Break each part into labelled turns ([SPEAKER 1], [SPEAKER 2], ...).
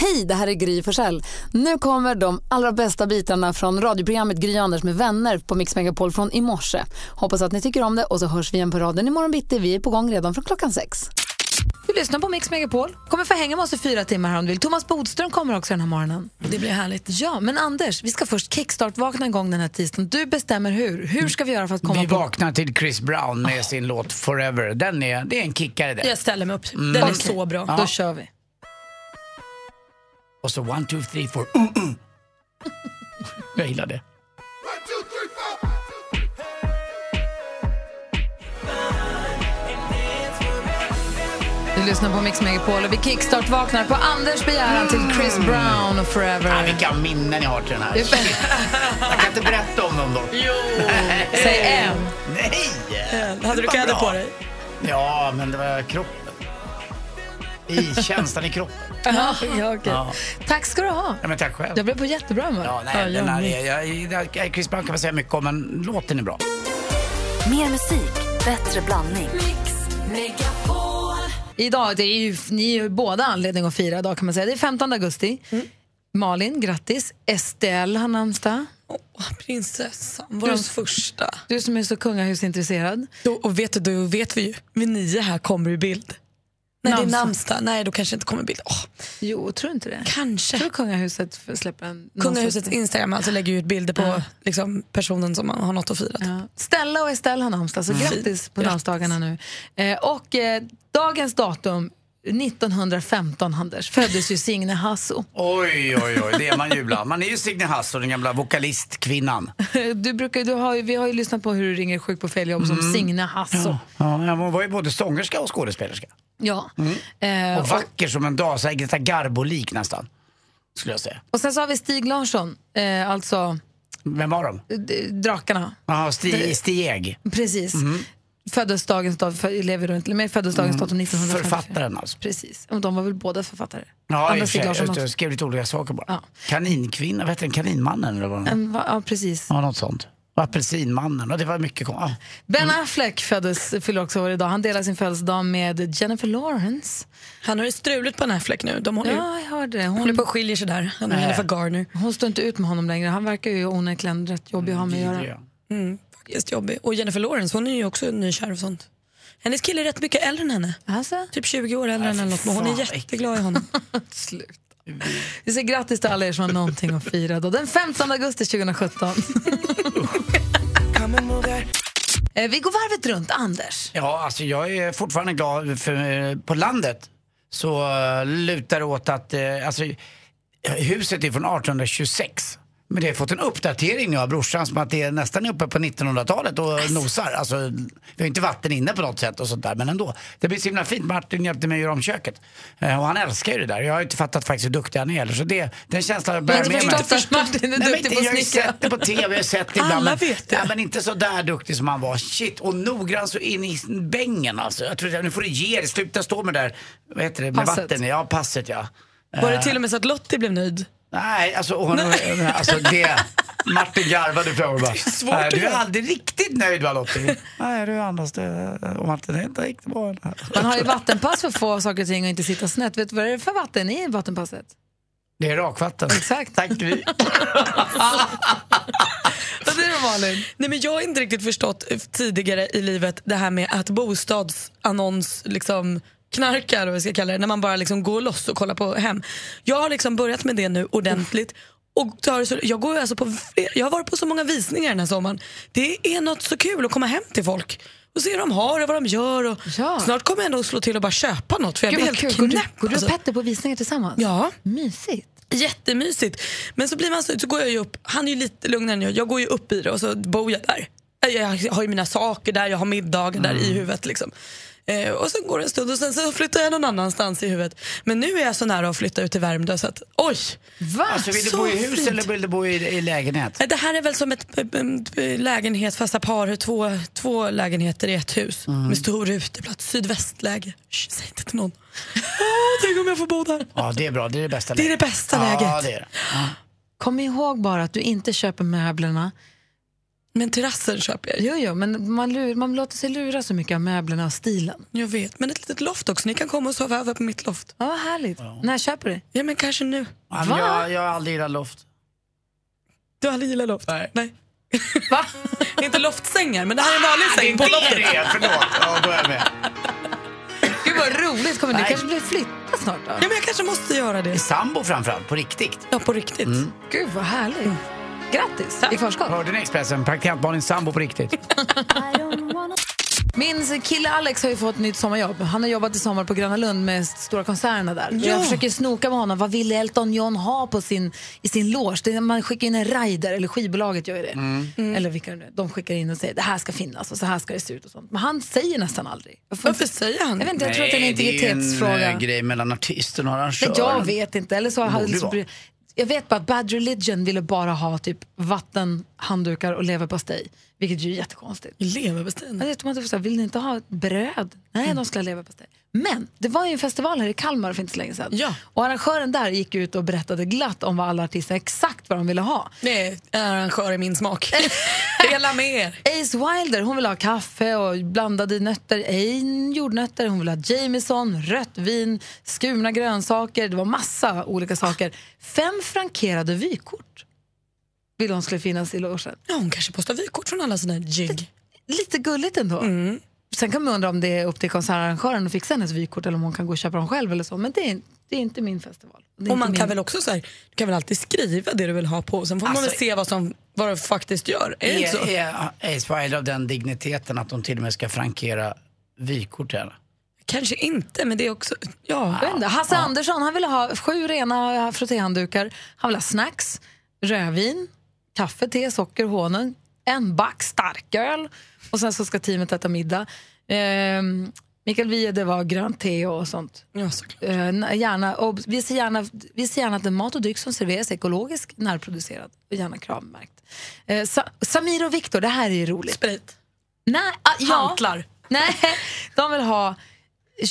[SPEAKER 1] Hej, det här är Gry Forssell. Nu kommer de allra bästa bitarna från radioprogrammet Gry Anders med vänner på Mix Megapol från i morse. Hoppas att ni tycker om det och så hörs vi igen på raden imorgon bitti. Vi är på gång redan från klockan sex. Du lyssnar på Mix Megapol. Kommer få hänga med oss i fyra timmar här om du vill. Thomas Bodström kommer också den här morgonen. Det blir härligt. Ja, men Anders, vi ska först kickstart-vakna igång den här tisdagen. Du bestämmer hur. Hur ska vi göra för att komma
[SPEAKER 2] Vi
[SPEAKER 1] på...
[SPEAKER 2] vaknar till Chris Brown
[SPEAKER 3] Ah.
[SPEAKER 2] med sin låt Forever. Den är, det är en kickare där.
[SPEAKER 3] Jag ställer mig upp. Den är
[SPEAKER 1] Okej,
[SPEAKER 3] så bra.
[SPEAKER 1] Då kör vi.
[SPEAKER 2] Och så one, two, three, four. Mm, mm. Jag gillar det.
[SPEAKER 1] Du lyssnar på Mix Megapol och vi kickstart-vaknar på Anders begäran till Chris Brown och
[SPEAKER 2] Ah,
[SPEAKER 1] Forever.
[SPEAKER 2] vilka minnen jag har till den här. Jag kan inte berätta om dem dock.
[SPEAKER 1] Säg en.
[SPEAKER 2] Nej!
[SPEAKER 3] Hade du
[SPEAKER 2] Vad
[SPEAKER 3] kläder
[SPEAKER 2] bra.
[SPEAKER 3] på dig?
[SPEAKER 2] Ja, men det var kroppen. I känslan i kroppen.
[SPEAKER 1] Ja, ja, okej.
[SPEAKER 2] Ja.
[SPEAKER 1] Tack ska du ha.
[SPEAKER 2] Ja, men tack själv.
[SPEAKER 1] Jag blev på jättebra humör.
[SPEAKER 2] Ja, nej,
[SPEAKER 1] jag
[SPEAKER 2] den här
[SPEAKER 1] med.
[SPEAKER 2] är, jag, jag, Chris Brown kan man säga mycket om, men låten är bra.
[SPEAKER 4] Mer musik, bättre blandning.
[SPEAKER 1] Idag, det är ju, ni är ju båda anledning att fira idag kan man säga. Det är 15 augusti.
[SPEAKER 2] Mm.
[SPEAKER 1] Malin, grattis. Estelle har namnsdag.
[SPEAKER 3] Åh, prinsessan. Vår första.
[SPEAKER 1] Du som är så kungahusintresserad.
[SPEAKER 3] Då, och vet du, då vet vi ju. Vid nio här kommer du i bild. Nej, det
[SPEAKER 1] Namnsdag.
[SPEAKER 3] är namnsdag. Nej, då kanske inte kommer i bild. Åh,
[SPEAKER 1] Jo, tror inte det?
[SPEAKER 3] kanske.
[SPEAKER 1] Tror du kungahuset f- släpper en...
[SPEAKER 3] Kungahusets Instagram alltså lägger ju ut bilder på liksom, personen som man har något att fira.
[SPEAKER 1] Ja. Stella och Estelle har namnsdag,
[SPEAKER 2] Mm.
[SPEAKER 1] så grattis på
[SPEAKER 3] Grattis.
[SPEAKER 1] namnsdagarna nu. Eh, och eh, dagens datum, 1915, Anders, föddes ju Signe Hasso.
[SPEAKER 2] Oj, oj, oj, det är man ju ibland. Man är ju Signe Hasso, den gamla vokalistkvinnan.
[SPEAKER 1] Eh, Du brukar, du har, ju- vi har ju lyssnat på hur du ringer sjuk på fel jobb
[SPEAKER 2] Mm.
[SPEAKER 1] som Signe Hasso.
[SPEAKER 2] Ja, ja, hon var ju både sångerska och skådespelerska.
[SPEAKER 1] Ja. Eh,
[SPEAKER 2] Mm. Och vacker som en dag, så här Greta Garbo-lik nästan. Skulle jag säga.
[SPEAKER 1] Och sen så har vi Stig Larsson, eh, alltså
[SPEAKER 2] Vem var de?
[SPEAKER 1] d- drakarna.
[SPEAKER 2] Ja, Sti, Stieg.
[SPEAKER 1] Precis.
[SPEAKER 2] Mm.
[SPEAKER 1] Föddes dagens dag, för, lever runt, men föddes dagens datum 1954.
[SPEAKER 2] Författaren alltså.
[SPEAKER 1] Precis. Och de var väl båda författare?
[SPEAKER 2] Ja, i
[SPEAKER 1] Andra
[SPEAKER 2] och
[SPEAKER 1] Stig
[SPEAKER 2] för sig.
[SPEAKER 1] Larsson
[SPEAKER 2] Just det,
[SPEAKER 1] också.
[SPEAKER 2] Jag skrev lite olika saker bara.
[SPEAKER 1] Ja.
[SPEAKER 2] Kaninkvinna, vad heter den? Kaninmannen eller vad det var?
[SPEAKER 1] En va- Ja, precis.
[SPEAKER 2] Ja, något sånt. Och Apelsinmannen, ja, det var mycket kon- ja.
[SPEAKER 1] Ben Affleck föddes, fyller också år idag. Han delar sin födelsedag med Jennifer Lawrence.
[SPEAKER 3] Han har ju struligt på en Affleck nu. De håller ju
[SPEAKER 1] Ja, jag hörde det.
[SPEAKER 3] hon håller
[SPEAKER 1] Hon,
[SPEAKER 3] på och skiljer sig där. Han och Jennifer Garner.
[SPEAKER 1] hon står inte ut med honom längre. Han verkar ju onekligen rätt jobbig att ha med att göra.
[SPEAKER 2] Ja.
[SPEAKER 3] Faktiskt jobbig. Och Jennifer Lawrence, hon är ju också nykär och sånt. Hennes kille är rätt mycket äldre än henne.
[SPEAKER 1] Alltså?
[SPEAKER 3] Typ 20 år äldre än henne. Men hon är
[SPEAKER 2] fan,
[SPEAKER 3] jätteglad i honom.
[SPEAKER 1] Slut. Vi säger grattis till alla er som har någonting att fira då. den 15 augusti 2017. Eh, Vi går varvet runt, Anders.
[SPEAKER 2] Ja, alltså jag är fortfarande glad för eh, på landet så eh, lutar det åt att, eh, alltså huset är från 1826. Men det har fått en uppdatering nu av brorsan som att det är nästan uppe på 1900-talet och nosar. Alltså, vi har inte vatten inne på något sätt och sånt där, men ändå. Det blir så himla fint. Martin hjälpte mig att göra om köket. Eh, Och han älskar ju det där. Jag har inte fattat faktiskt hur duktig han är heller. Så det, den känslan bär
[SPEAKER 1] Jag
[SPEAKER 2] jag
[SPEAKER 1] har
[SPEAKER 2] med
[SPEAKER 1] inte
[SPEAKER 2] mig.
[SPEAKER 1] förstått att Martin är
[SPEAKER 2] Nej,
[SPEAKER 1] duktig
[SPEAKER 2] men
[SPEAKER 1] på
[SPEAKER 2] jag har ju
[SPEAKER 1] att snickra.
[SPEAKER 2] sett det på tv, jag har sett det ibland.
[SPEAKER 3] Alla
[SPEAKER 2] men-
[SPEAKER 3] vet det.
[SPEAKER 2] Ja, men inte så där duktig som han var. Shit, och noggrann så in i bängen alltså. Jag trodde, nu får du ge dig, sluta stå med det där, vad heter det, med
[SPEAKER 1] Passet.
[SPEAKER 2] vatten Ja, passet ja.
[SPEAKER 3] Var det till och med så att Lottie blev nöjd?
[SPEAKER 2] Nej, alltså, hon, alltså det. Martin garvade fram bara.
[SPEAKER 3] svårt
[SPEAKER 2] "Nej,
[SPEAKER 3] att
[SPEAKER 2] du är
[SPEAKER 3] göra."
[SPEAKER 2] aldrig riktigt nöjd va Lottie? Nej, du är annars det. Och Martin är inte riktigt bra.
[SPEAKER 1] Man har ju vattenpass för att få saker och ting och inte sitta snett. Vet du vad det är för vatten i vattenpasset?
[SPEAKER 2] Det är rakvatten.
[SPEAKER 1] Exakt.
[SPEAKER 2] Tack Gry.
[SPEAKER 1] Vad säger du Malin?
[SPEAKER 3] Nej, men jag har inte riktigt förstått tidigare i livet det här med att bostadsannons liksom knarkar vad vi ska kalla det, när man bara liksom går loss och kollar på hem. Jag har liksom börjat med det nu ordentligt. Och tar, så- jag, går ju alltså på, jag har varit på så många visningar den här sommaren. Det är något så kul att komma hem till folk och se hur de har och vad de gör. Och
[SPEAKER 1] Ja.
[SPEAKER 3] Snart kommer jag nog slå till och bara köpa något för jag
[SPEAKER 1] Gud,
[SPEAKER 3] blir
[SPEAKER 1] vad
[SPEAKER 3] helt
[SPEAKER 1] kul.
[SPEAKER 3] knäpp.
[SPEAKER 1] Går du, går du och
[SPEAKER 3] alltså.
[SPEAKER 1] Petter på visningar tillsammans?
[SPEAKER 3] Ja.
[SPEAKER 1] Mysigt.
[SPEAKER 3] Jättemysigt. Men så blir man så, så går jag ju upp, han är ju lite lugnare än jag, jag går ju upp Eh,
[SPEAKER 2] Mm.
[SPEAKER 3] i det och så bor jag där. Jag har ju mina saker där, jag har middagar där i huvudet. Liksom. Eh, och sen går det en stund och sen så flyttar jag någon annanstans i huvudet. Men nu är jag så nära att flytta ut till Värmdö så att oj!
[SPEAKER 5] Va?
[SPEAKER 2] Alltså vill du
[SPEAKER 3] Så
[SPEAKER 2] bo i hus
[SPEAKER 3] fint.
[SPEAKER 2] eller vill du bo i, i lägenhet?
[SPEAKER 3] Eh, Det här är väl som ett eh, eh, lägenhet fast ett par, två, två lägenheter i ett hus
[SPEAKER 2] Mm.
[SPEAKER 3] med stor uteplats, sydvästläge. Shh, säg inte till någon. Åh, tänk om jag får bo där.
[SPEAKER 2] Ja det är bra, det är det bästa
[SPEAKER 3] Det är
[SPEAKER 2] läget.
[SPEAKER 3] det bästa
[SPEAKER 2] Ja
[SPEAKER 3] läget.
[SPEAKER 2] det är det.
[SPEAKER 1] Kom ihåg bara att du inte köper möblerna.
[SPEAKER 3] Men terrassen köper jag.
[SPEAKER 1] Jo, jo, men man, lur, man låter sig lura så mycket av möblerna och stilen.
[SPEAKER 3] Jag vet, men ett litet loft också. Ni kan komma och sova över på mitt loft.
[SPEAKER 1] Ja, vad härligt. När köper du?
[SPEAKER 3] Ja, men kanske nu.
[SPEAKER 2] Ja, men jag, jag har aldrig gillat loft.
[SPEAKER 3] Du har aldrig gillat loft?
[SPEAKER 2] Nej.
[SPEAKER 3] Va? inte loftsängar, men det här är en vanlig säng på loftet.
[SPEAKER 2] det är, förlåt. Ja, då är jag med.
[SPEAKER 1] Gud vad roligt. Kommer du
[SPEAKER 2] Nej.
[SPEAKER 1] kanske blir flytta snart då?
[SPEAKER 3] Ja, men jag kanske måste göra det.
[SPEAKER 2] Sambo framförallt, på riktigt.
[SPEAKER 3] Ja, på riktigt.
[SPEAKER 1] Gud vad härligt. Grattis i förskott.
[SPEAKER 2] Hörde ni Expressen? Praktikant Malin sambo på riktigt.
[SPEAKER 1] Min kille Alex har ju fått nytt sommarjobb. Han har jobbat i sommar på Gröna Lund med stora konserterna där. Jag försöker snoka med honom. Vad vill Elton John ha på sin, i sin loge? Det är när man skickar in en rider, eller skivbolaget gör ju det. Eller vilka det nu är. De skickar in och säger det här ska finnas och så här ska det se ut och sånt. Men han säger nästan aldrig. Jag får inte-
[SPEAKER 3] Varför säger han
[SPEAKER 1] Jag vet inte, jag tror att det är en
[SPEAKER 2] Nej, Det är
[SPEAKER 1] integritetsfråga.
[SPEAKER 2] en eh, grej mellan artisten och
[SPEAKER 1] Nej,
[SPEAKER 2] arrangören.
[SPEAKER 1] jag vet inte. Eller så har
[SPEAKER 2] borde
[SPEAKER 1] liksom,
[SPEAKER 2] vara.
[SPEAKER 1] jag vet bara att Bad Religion ville bara ha typ vatten, handdukar och leverpastej. Vilket ju är jättekonstigt.
[SPEAKER 3] Leverpastejen.
[SPEAKER 1] Jag
[SPEAKER 2] Mm.
[SPEAKER 1] vet, man inte, vill ni inte ha bröd? Nej, de skulle ha leverpastej. Men det var ju en festival här i Kalmar för inte så länge sedan.
[SPEAKER 3] Ja.
[SPEAKER 1] Och arrangören där gick ut och berättade glatt om vad alla artister exakt vad de ville ha.
[SPEAKER 3] Nej, arrangör i min smak. Dela med er.
[SPEAKER 1] Ace Wilder hon ville ha kaffe och blandade nötter, ej jordnötter, hon ville ha Jameson, rött vin, skurna grönsaker, det var massa olika saker. Fem frankerade vykort ville hon skulle finnas i logen.
[SPEAKER 3] Ja, hon kanske postar vykort från alla sina jigg.
[SPEAKER 1] Lite gulligt ändå.
[SPEAKER 3] Mm.
[SPEAKER 1] Sen kan man undra om det är upp till konsertarrangören att fixa hennes vykort eller om hon kan gå och köpa dem själv eller så. Men det är, det är inte min festival. Det är
[SPEAKER 3] Och
[SPEAKER 1] inte
[SPEAKER 3] man
[SPEAKER 1] min...
[SPEAKER 3] kan väl också så här, du kan väl alltid skriva det du vill ha på. Sen får man
[SPEAKER 2] Alltså-
[SPEAKER 3] väl se vad, som, vad du faktiskt gör. Är det inte så?
[SPEAKER 2] Är, är Ace Wilder av den digniteten att de till och med ska frankera vykort till henne?
[SPEAKER 3] Kanske inte, men det är också... Ja.
[SPEAKER 1] Jag vet inte. Hasse Andersson han ville ha sju rena frottéhanddukar. Han ville ha snacks, rödvin, kaffe, te, socker, honung, en back starköl och sen så ska teamet äta middag. Ehm, Mikael Wiehe, det var grönt te och sånt.
[SPEAKER 3] ja såklart.
[SPEAKER 1] Eh, gärna, och vi, ser gärna, vi ser gärna att den mat och dryck som serveras är ekologisk, närproducerad och gärna kravmärkt. Eh, Sa, Samir och Viktor, det här är ju roligt.
[SPEAKER 3] Sprit.
[SPEAKER 1] Nej, ah, ja.
[SPEAKER 3] Hantlar.
[SPEAKER 1] Nej, de vill ha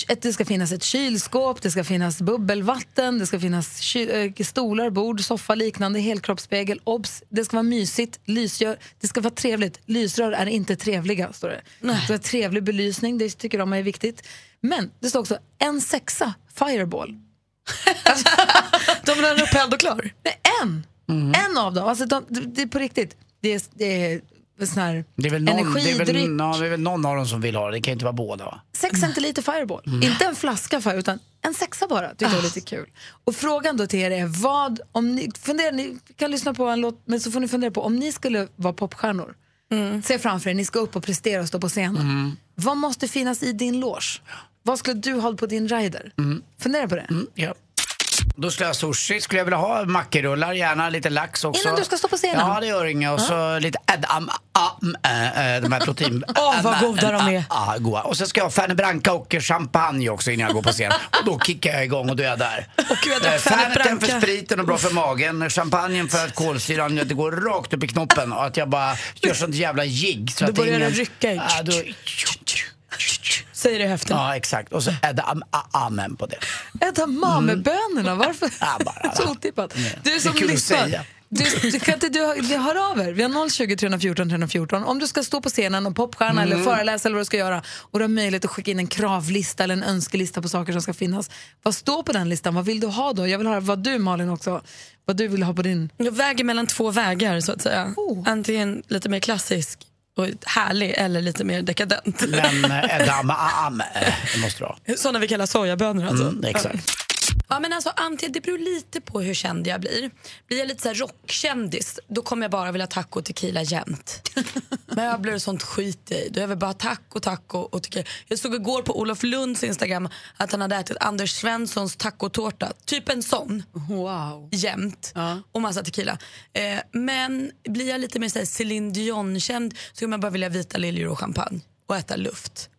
[SPEAKER 1] ett, det ska finnas ett kylskåp, det ska finnas bubbelvatten, det ska finnas ky, eh, stolar, bord, soffa, liknande, helkroppsspegel, obs, det ska vara mysigt, lysrör, det ska vara trevligt. Lysrör är inte trevliga, står det. Det ska vara trevlig belysning, det tycker de är viktigt. Men det står också en sexa, fireball.
[SPEAKER 3] De vill ha en upphälld och klar.
[SPEAKER 1] Men en!
[SPEAKER 2] Mhm.
[SPEAKER 1] En av dem. Alltså de, det- det är på riktigt. Det är, det är sån här
[SPEAKER 2] Det är, väl någon, det, är
[SPEAKER 1] energidryck.
[SPEAKER 2] väl, ja, det är väl någon av dem som vill ha det, det kan ju inte vara båda va?
[SPEAKER 1] Sex centiliter Fireball. Inte en flaska Fireball, utan en sexa bara. Tyckte jag var lite kul. Och frågan då till er är vad, om ni, funderar, ni kan lyssna på en låt, men så får ni fundera på om ni skulle vara popstjärnor. Se framför er, ni ska upp och prestera och stå på scenen. Vad måste finnas i din loge? Vad skulle du ha på din rider? Fundera på det.
[SPEAKER 2] Ja. Då skulle jag ha sushi, skulle jag vilja ha mackerullar, gärna lite lax också.
[SPEAKER 1] Innan du ska stå på scenen?
[SPEAKER 2] Ja, det gör inget. Och så lite Adam, am, äh, äh, de här protein...
[SPEAKER 3] Åh, vad goda de är.
[SPEAKER 2] Ja, goda. Och sen ska jag ha Fanny Branca och champagne också innan jag går på scen. Och då kickar jag igång och då är jag där.
[SPEAKER 3] Och gud, jag drack
[SPEAKER 2] Eh,
[SPEAKER 3] Fanny
[SPEAKER 2] Fanneten för
[SPEAKER 3] Branca.
[SPEAKER 2] spriten och bra för magen. Champagnen för att kolsyran inte går rakt upp i knoppen och att jag bara gör sånt jävla jigg. Så
[SPEAKER 3] Då
[SPEAKER 2] att det är
[SPEAKER 3] börjar det
[SPEAKER 2] ingen-
[SPEAKER 3] rycka i.
[SPEAKER 2] Ja, då...
[SPEAKER 3] Säger det i höften.
[SPEAKER 2] ja, exakt. Och så Adam, amen på det.
[SPEAKER 1] Äta mamebönorna, varför?
[SPEAKER 2] Ja, bara.
[SPEAKER 1] så otippat. Du som
[SPEAKER 2] Det är kul att
[SPEAKER 1] lyssnar.
[SPEAKER 2] säga.
[SPEAKER 1] Du, du, kan inte, du, hör- hör av er. Vi har 020 314 314. Om du ska stå på scenen och popstjärna eller föreläsa eller vad du ska göra och du har möjlighet att skicka in en kravlista eller en önskelista på saker som ska finnas. Vad står på den listan? Vad vill du ha då? Jag vill höra vad du Malin också, vad du vill ha på din...
[SPEAKER 3] Jag väger mellan två vägar så att säga.
[SPEAKER 1] Oh.
[SPEAKER 3] Antingen lite mer klassisk och härlig eller lite mer dekadent.
[SPEAKER 2] Men eh, Adam, am, eh, det måste du ha.
[SPEAKER 3] Sådana vi kallar sojabönor alltså.
[SPEAKER 2] Mm, exakt.
[SPEAKER 3] Ja, men alltså, antingen, det beror lite på hur känd jag blir. Blir jag lite så här rockkändis, då kommer jag bara vilja taco och tequila jämt. Möbler och sånt skit i. Då är jag bara taco, taco och tequila. Jag såg igår på Olof Lunds Instagram att han hade ätit Anders Svenssons tacotårta. Typ en sån
[SPEAKER 1] Wow.
[SPEAKER 3] jämt och massa tequila. Eh, men blir jag lite mer så här Céline Dion-känd så kommer jag bara vilja vita liljor och champagne och äta luft.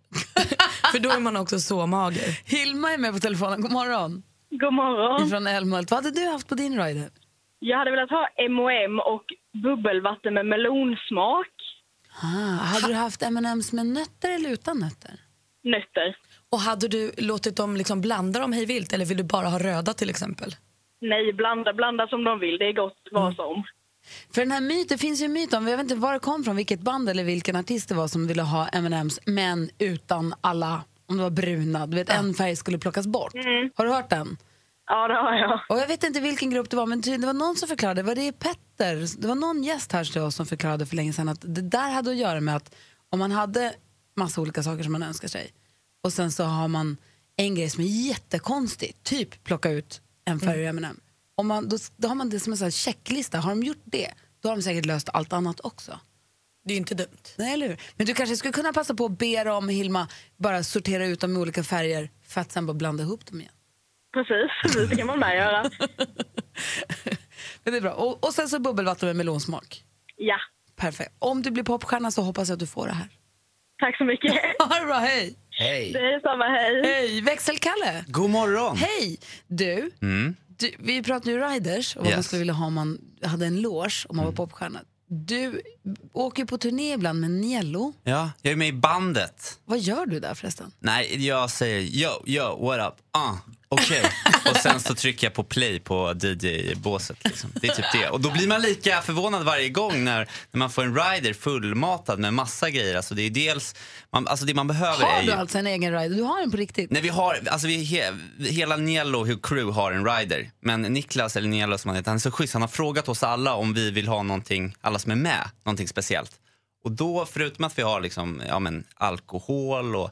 [SPEAKER 3] För då är man också så mager.
[SPEAKER 1] Hilma är med på telefonen. God morgon.
[SPEAKER 6] God morgon.
[SPEAKER 1] Från Älmhult. Vad hade du haft på din rider?
[SPEAKER 6] Jag hade velat ha M&M och bubbelvatten med melonsmak.
[SPEAKER 1] Ah, hade du haft M&M's med nötter eller utan nötter?
[SPEAKER 6] Nötter.
[SPEAKER 3] Och hade du låtit dem liksom blanda dem hej vilt eller vill du bara ha röda till exempel?
[SPEAKER 6] Nej, blanda, blanda som de vill. Det är gott vad som.
[SPEAKER 1] För den här myten, det finns ju en myt om, jag vet inte var det kom från, vilket band eller vilken artist det var som ville ha M&M's men utan alla, om det var bruna, du vet en färg skulle plockas bort. Har du hört den?
[SPEAKER 6] Ja, det har jag.
[SPEAKER 1] Och jag vet inte vilken grupp det var, men tydligen det var någon som förklarade, var det Petter? Det var någon gäst här till oss som förklarade för länge sedan att det där hade att göra med att om man hade massa olika saker som man önskar sig och sen så har man en grej som är jättekonstig, typ plocka ut en färg ur M&M. Om man, då, då har man det som en sån här checklista, har de gjort det, då har de säkert löst allt annat också.
[SPEAKER 3] Det är ju inte dumt.
[SPEAKER 1] Nej, eller hur? Men du kanske skulle kunna passa på att be dem, Hilma, bara sortera ut dem i olika färger för att sen bara blanda ihop dem igen.
[SPEAKER 6] Precis, precis. Det kan man med göra.
[SPEAKER 1] Men det är bra. Och, och sen så bubbelvatten med melonsmak.
[SPEAKER 6] Ja,
[SPEAKER 1] Perfekt. Om du blir popstjärna så hoppas jag att du får det här.
[SPEAKER 6] tack så mycket.
[SPEAKER 1] Ha det bra, hej!
[SPEAKER 6] Det är samma, hej.
[SPEAKER 1] Hej! Växelkalle!
[SPEAKER 7] God morgon!
[SPEAKER 1] Hej! Du, du, vi pratade ju riders och vad man
[SPEAKER 7] Mm. Yes. Mm.
[SPEAKER 1] skulle vilja ha om man hade en loge om man var popstjärna. Du åker ju på turné ibland med Niello.
[SPEAKER 7] Ja, jag är med i bandet.
[SPEAKER 1] Vad gör du där förresten?
[SPEAKER 7] Nej, jag säger yo, yo, what up, ah, okej. Och sen så trycker jag på play på DJ-båset. Liksom. Det är typ det. Och då blir man lika förvånad varje gång när, när man får en rider fullmatad med massa grejer. Alltså det är dels, man, alltså det man behöver är
[SPEAKER 1] Har
[SPEAKER 7] ju...
[SPEAKER 1] du alltså en egen rider? Du har en på riktigt?
[SPEAKER 7] Nej, vi har, alltså vi, he, hela Niello och crew har en rider. Men Niklas, eller Niello som han heter, han är så schysst. Han har frågat oss alla om vi vill ha någonting, alla som är med, någonting speciellt. Och då, förutom att vi har liksom, ja, men, alkohol och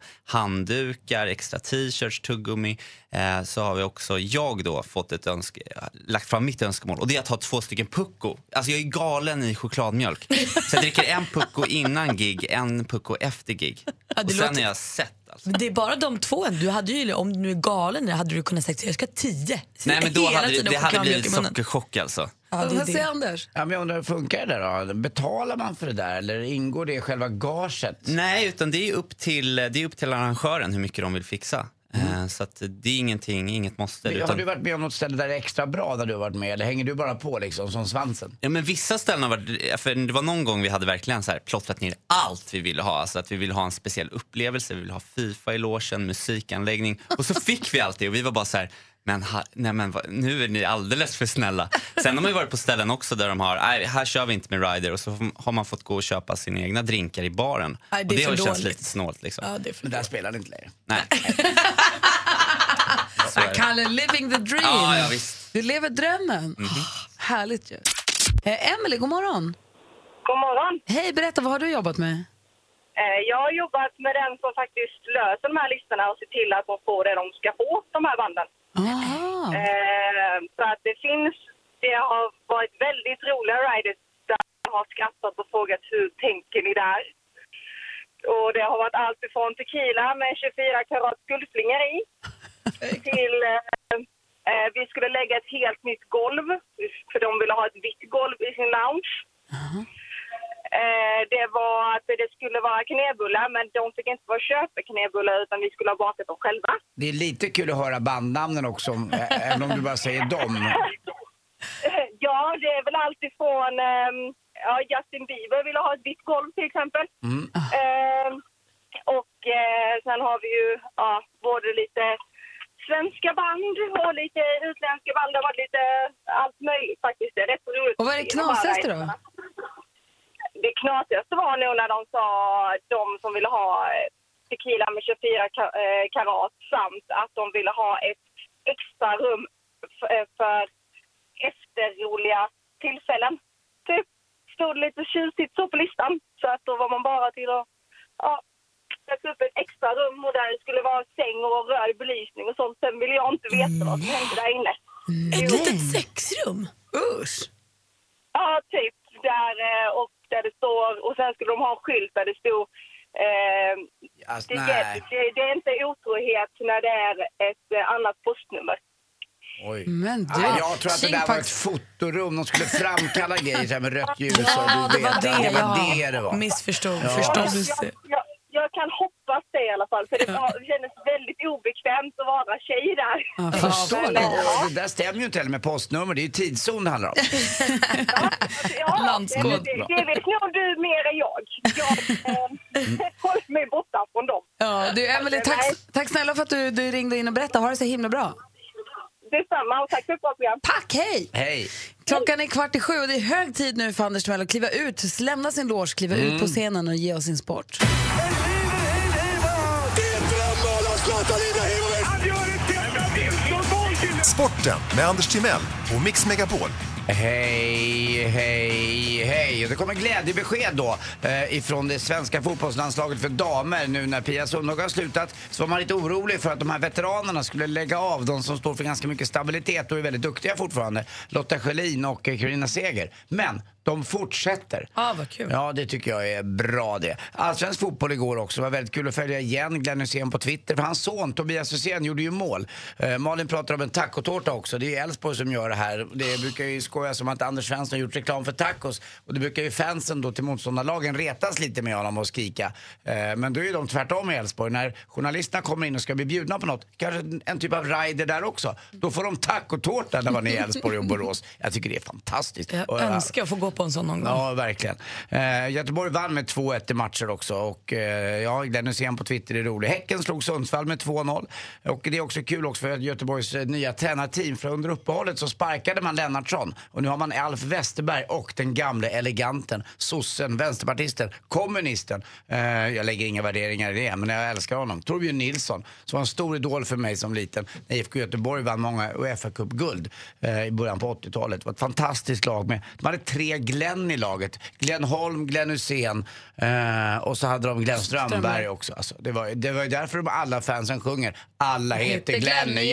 [SPEAKER 7] handdukar, extra t-shirts, tuggummi, eh, så har vi också, jag då, fått ett önske, lagt fram mitt önskemål. Och det är att ha två stycken pucko. Alltså jag är galen i chokladmjölk. Så jag dricker en pucko innan gig, en pucko efter gig.
[SPEAKER 3] det
[SPEAKER 7] och sen
[SPEAKER 3] låter-
[SPEAKER 7] är jag sett alltså.
[SPEAKER 3] Men Det är bara de två. Du hade ju, om du nu är galen i det, hade du kunnat säga jag ska ha tio.
[SPEAKER 7] Nej men då
[SPEAKER 3] Hela
[SPEAKER 7] hade det,
[SPEAKER 3] tiden
[SPEAKER 7] det hade
[SPEAKER 3] chokladmjölk
[SPEAKER 7] blivit
[SPEAKER 3] i munnen.
[SPEAKER 7] sockerchock alltså.
[SPEAKER 3] Ja, det är
[SPEAKER 1] Vad
[SPEAKER 3] det.
[SPEAKER 1] säger Anders?
[SPEAKER 2] Ja, men jag undrar, hur funkar det där då? Betalar man för det där eller ingår det i själva gaget?
[SPEAKER 7] Nej utan det är upp till, det är upp till arrangören hur mycket de vill fixa.
[SPEAKER 1] Mm.
[SPEAKER 7] Eh, så att det är ingenting, inget måste.
[SPEAKER 2] Har
[SPEAKER 7] Utan,
[SPEAKER 2] du varit med om något ställe där det är extra bra där du har varit med eller hänger du bara på liksom som svansen?
[SPEAKER 7] ja, men vissa ställen har varit, för det var någon gång vi hade verkligen så här plottrat ner allt vi ville ha. Alltså att vi ville ha en speciell upplevelse, vi ville ha Fifa i logen, musikanläggning. Och så fick vi allt det och vi var bara så här men, ha, nej men vad- nu är ni alldeles för snälla. Sen har man ju varit på ställen också där de har, nej här kör vi inte med rider och så har man fått gå och köpa sina egna drinkar i baren.
[SPEAKER 3] Nej, det
[SPEAKER 7] och
[SPEAKER 3] är
[SPEAKER 7] det
[SPEAKER 3] för
[SPEAKER 7] har ju känts
[SPEAKER 3] dåligt.
[SPEAKER 7] lite snålt liksom.
[SPEAKER 3] Ja, det är för
[SPEAKER 2] Men där spelar det inte längre.
[SPEAKER 7] Nej.
[SPEAKER 1] Ah, Kalle, living the dream!
[SPEAKER 7] Ja, ja, visst. Mhm.
[SPEAKER 1] Du lever drömmen. Ah, härligt ju. Eh, Emily, god morgon.
[SPEAKER 6] God morgon.
[SPEAKER 1] Hej, berätta, vad har du jobbat med?
[SPEAKER 6] Eh, Jag har jobbat med den som faktiskt löser de här listorna och ser till att de får det de ska få, de här banden.
[SPEAKER 1] Aha.
[SPEAKER 6] Eh, Så att det finns, det har varit väldigt roliga riders där jag har skrattat och frågat hur tänker ni där? Och det har varit allt ifrån tequila med 24 karat guldflingor i till eh, eh, vi skulle lägga ett helt nytt golv för de ville ha ett vitt golv i sin lounge. Eh, det var att det skulle vara knäbullar men de fick inte vara köpa knäbullar utan vi skulle ha bakat dem själva.
[SPEAKER 2] Det är lite kul att höra bandnamnen också, om- ä- även om du bara säger dem.
[SPEAKER 6] Ja, det är väl alltifrån... ehm, ja, Justin Bieber ville ha ett vitt golv till exempel. Ehm, och eh, sen har vi ju ja, både lite svenska band och lite utländska band. Det har varit lite allt möjligt faktiskt. Det är rätt roligt.
[SPEAKER 1] Och vad är det knasigaste då?
[SPEAKER 6] Det knasigaste var nog när de sa de som ville ha eh, tequila med 24 ka- eh, karat samt att de ville ha ett extra rum f- eh, för efterroliga tillfällen. Typ stod det lite tjusigt så på listan så att då var man bara till att ja, sätta upp ett extra rum och där det skulle vara säng och röd belysning och sånt. Sen ville jag inte veta vad som hände där inne.
[SPEAKER 3] Ett
[SPEAKER 6] Jo.
[SPEAKER 3] litet sexrum? Usch!
[SPEAKER 6] Ja, typ. Där, eh, och där det står, och sen skulle de ha en skylt där det stod eh,
[SPEAKER 2] Alltså,
[SPEAKER 6] det,
[SPEAKER 2] nej.
[SPEAKER 6] det, det är inte otrohet när det är ett eh, annat postnummer.
[SPEAKER 2] Oj.
[SPEAKER 1] Men du,
[SPEAKER 2] Ja, jag tror att det där var ett
[SPEAKER 1] Chingpax-
[SPEAKER 2] fotorum. De skulle framkalla grejer så här med rött ljus. och
[SPEAKER 3] Ja,
[SPEAKER 2] du
[SPEAKER 3] det
[SPEAKER 2] vet,
[SPEAKER 3] var det.
[SPEAKER 2] det var
[SPEAKER 3] ja.
[SPEAKER 2] det det var.
[SPEAKER 3] Missförstod.
[SPEAKER 2] Ja.
[SPEAKER 3] Förstod.
[SPEAKER 6] Jag, jag, jag kan hoppas det i alla fall. För det var, kändes väldigt obekvämt att vara tjej där.
[SPEAKER 2] Jag förstår
[SPEAKER 6] Men,
[SPEAKER 2] det.
[SPEAKER 6] ja,
[SPEAKER 2] Det där stämmer ju inte heller med postnummer. Det är ju tidszon det handlar om.
[SPEAKER 6] Alltså, ja,
[SPEAKER 3] Landskod.
[SPEAKER 6] det- Det, det vet nog du mer än jag. Jag eh, håller mig borta från dem.
[SPEAKER 1] Ja, du, Emelie, tack,
[SPEAKER 6] Nej.
[SPEAKER 1] tack snälla för att du, du ringde in och berättade. Ha det så himla bra.
[SPEAKER 6] Detsamma och tack för ett bra program.
[SPEAKER 1] Tack, hej!
[SPEAKER 2] Hej.
[SPEAKER 1] Klockan är kvart i sju och det är hög tid nu för Anders Timell att kliva ut, lämna sin loge, kliva ut
[SPEAKER 2] Mm.
[SPEAKER 1] på scenen och ge oss sin sport.
[SPEAKER 8] Sporten med Anders Timell och Mix Megapol.
[SPEAKER 2] Hej, hej, hej. Det kommer glädjebesked då eh, ifrån det svenska fotbollslandslaget för damer. Nu när Pia Sundhage har slutat så var man lite orolig för att de här veteranerna skulle lägga av. De som står för ganska mycket stabilitet och är väldigt duktiga fortfarande. Lotta Schelin och eh, Carina Seger. Men de fortsätter.
[SPEAKER 3] Ah, vad kul.
[SPEAKER 2] Ja, det tycker jag är bra det. Allsvensk fotboll igår också. Det var väldigt kul att följa igen Glenn Hysén på Twitter. För hans son Tobias Hysén gjorde ju mål. Eh, Malin pratar om en tacotårta också. Det är Elfsborg som gör det här. Det brukar ju skoja som att Anders Svensson har gjort reklam för tacos. Och det brukar ju fansen då till motståndarlagen retas lite med honom och skrika. Eh, men då är ju de tvärtom i Elfsborg. När journalisterna kommer in och ska bli bjudna på något, kanske en- en typ av rider där också. Då får de tacotårta när man är i Elfsborg och Borås. Jag tycker det är fantastiskt.
[SPEAKER 3] Jag
[SPEAKER 2] Och, eh,
[SPEAKER 3] önskar jag få gå på en sån någon gång.
[SPEAKER 2] Ja, verkligen. Eh, Göteborg vann med 2-1 i matcher också. Och eh, ja, Glenn Hysén på Twitter är rolig. Häcken slog Sundsvall med 2-0. Och det är också kul också för Göteborgs eh, nya tränarteam. För under uppehållet så sparkade man Lennartsson. Och nu har man Alf Westerberg och den gamle eleganten, sossen, vänsterpartisten, kommunisten. Eh, jag lägger inga värderingar i det, men jag älskar honom. Torbjörn Nilsson, som var en stor idol för mig som liten. När IFK Göteborg vann många Uefa-cupguld eh, i början på 80-talet. Det var ett fantastiskt lag. Med, de hade tre Glenn i laget. Glenn Holm, Glenn Hussein eh, och så hade de Glenn Strömberg också. Alltså, det, var, det var ju därför de alla fansen sjunger Alla heter Glenn i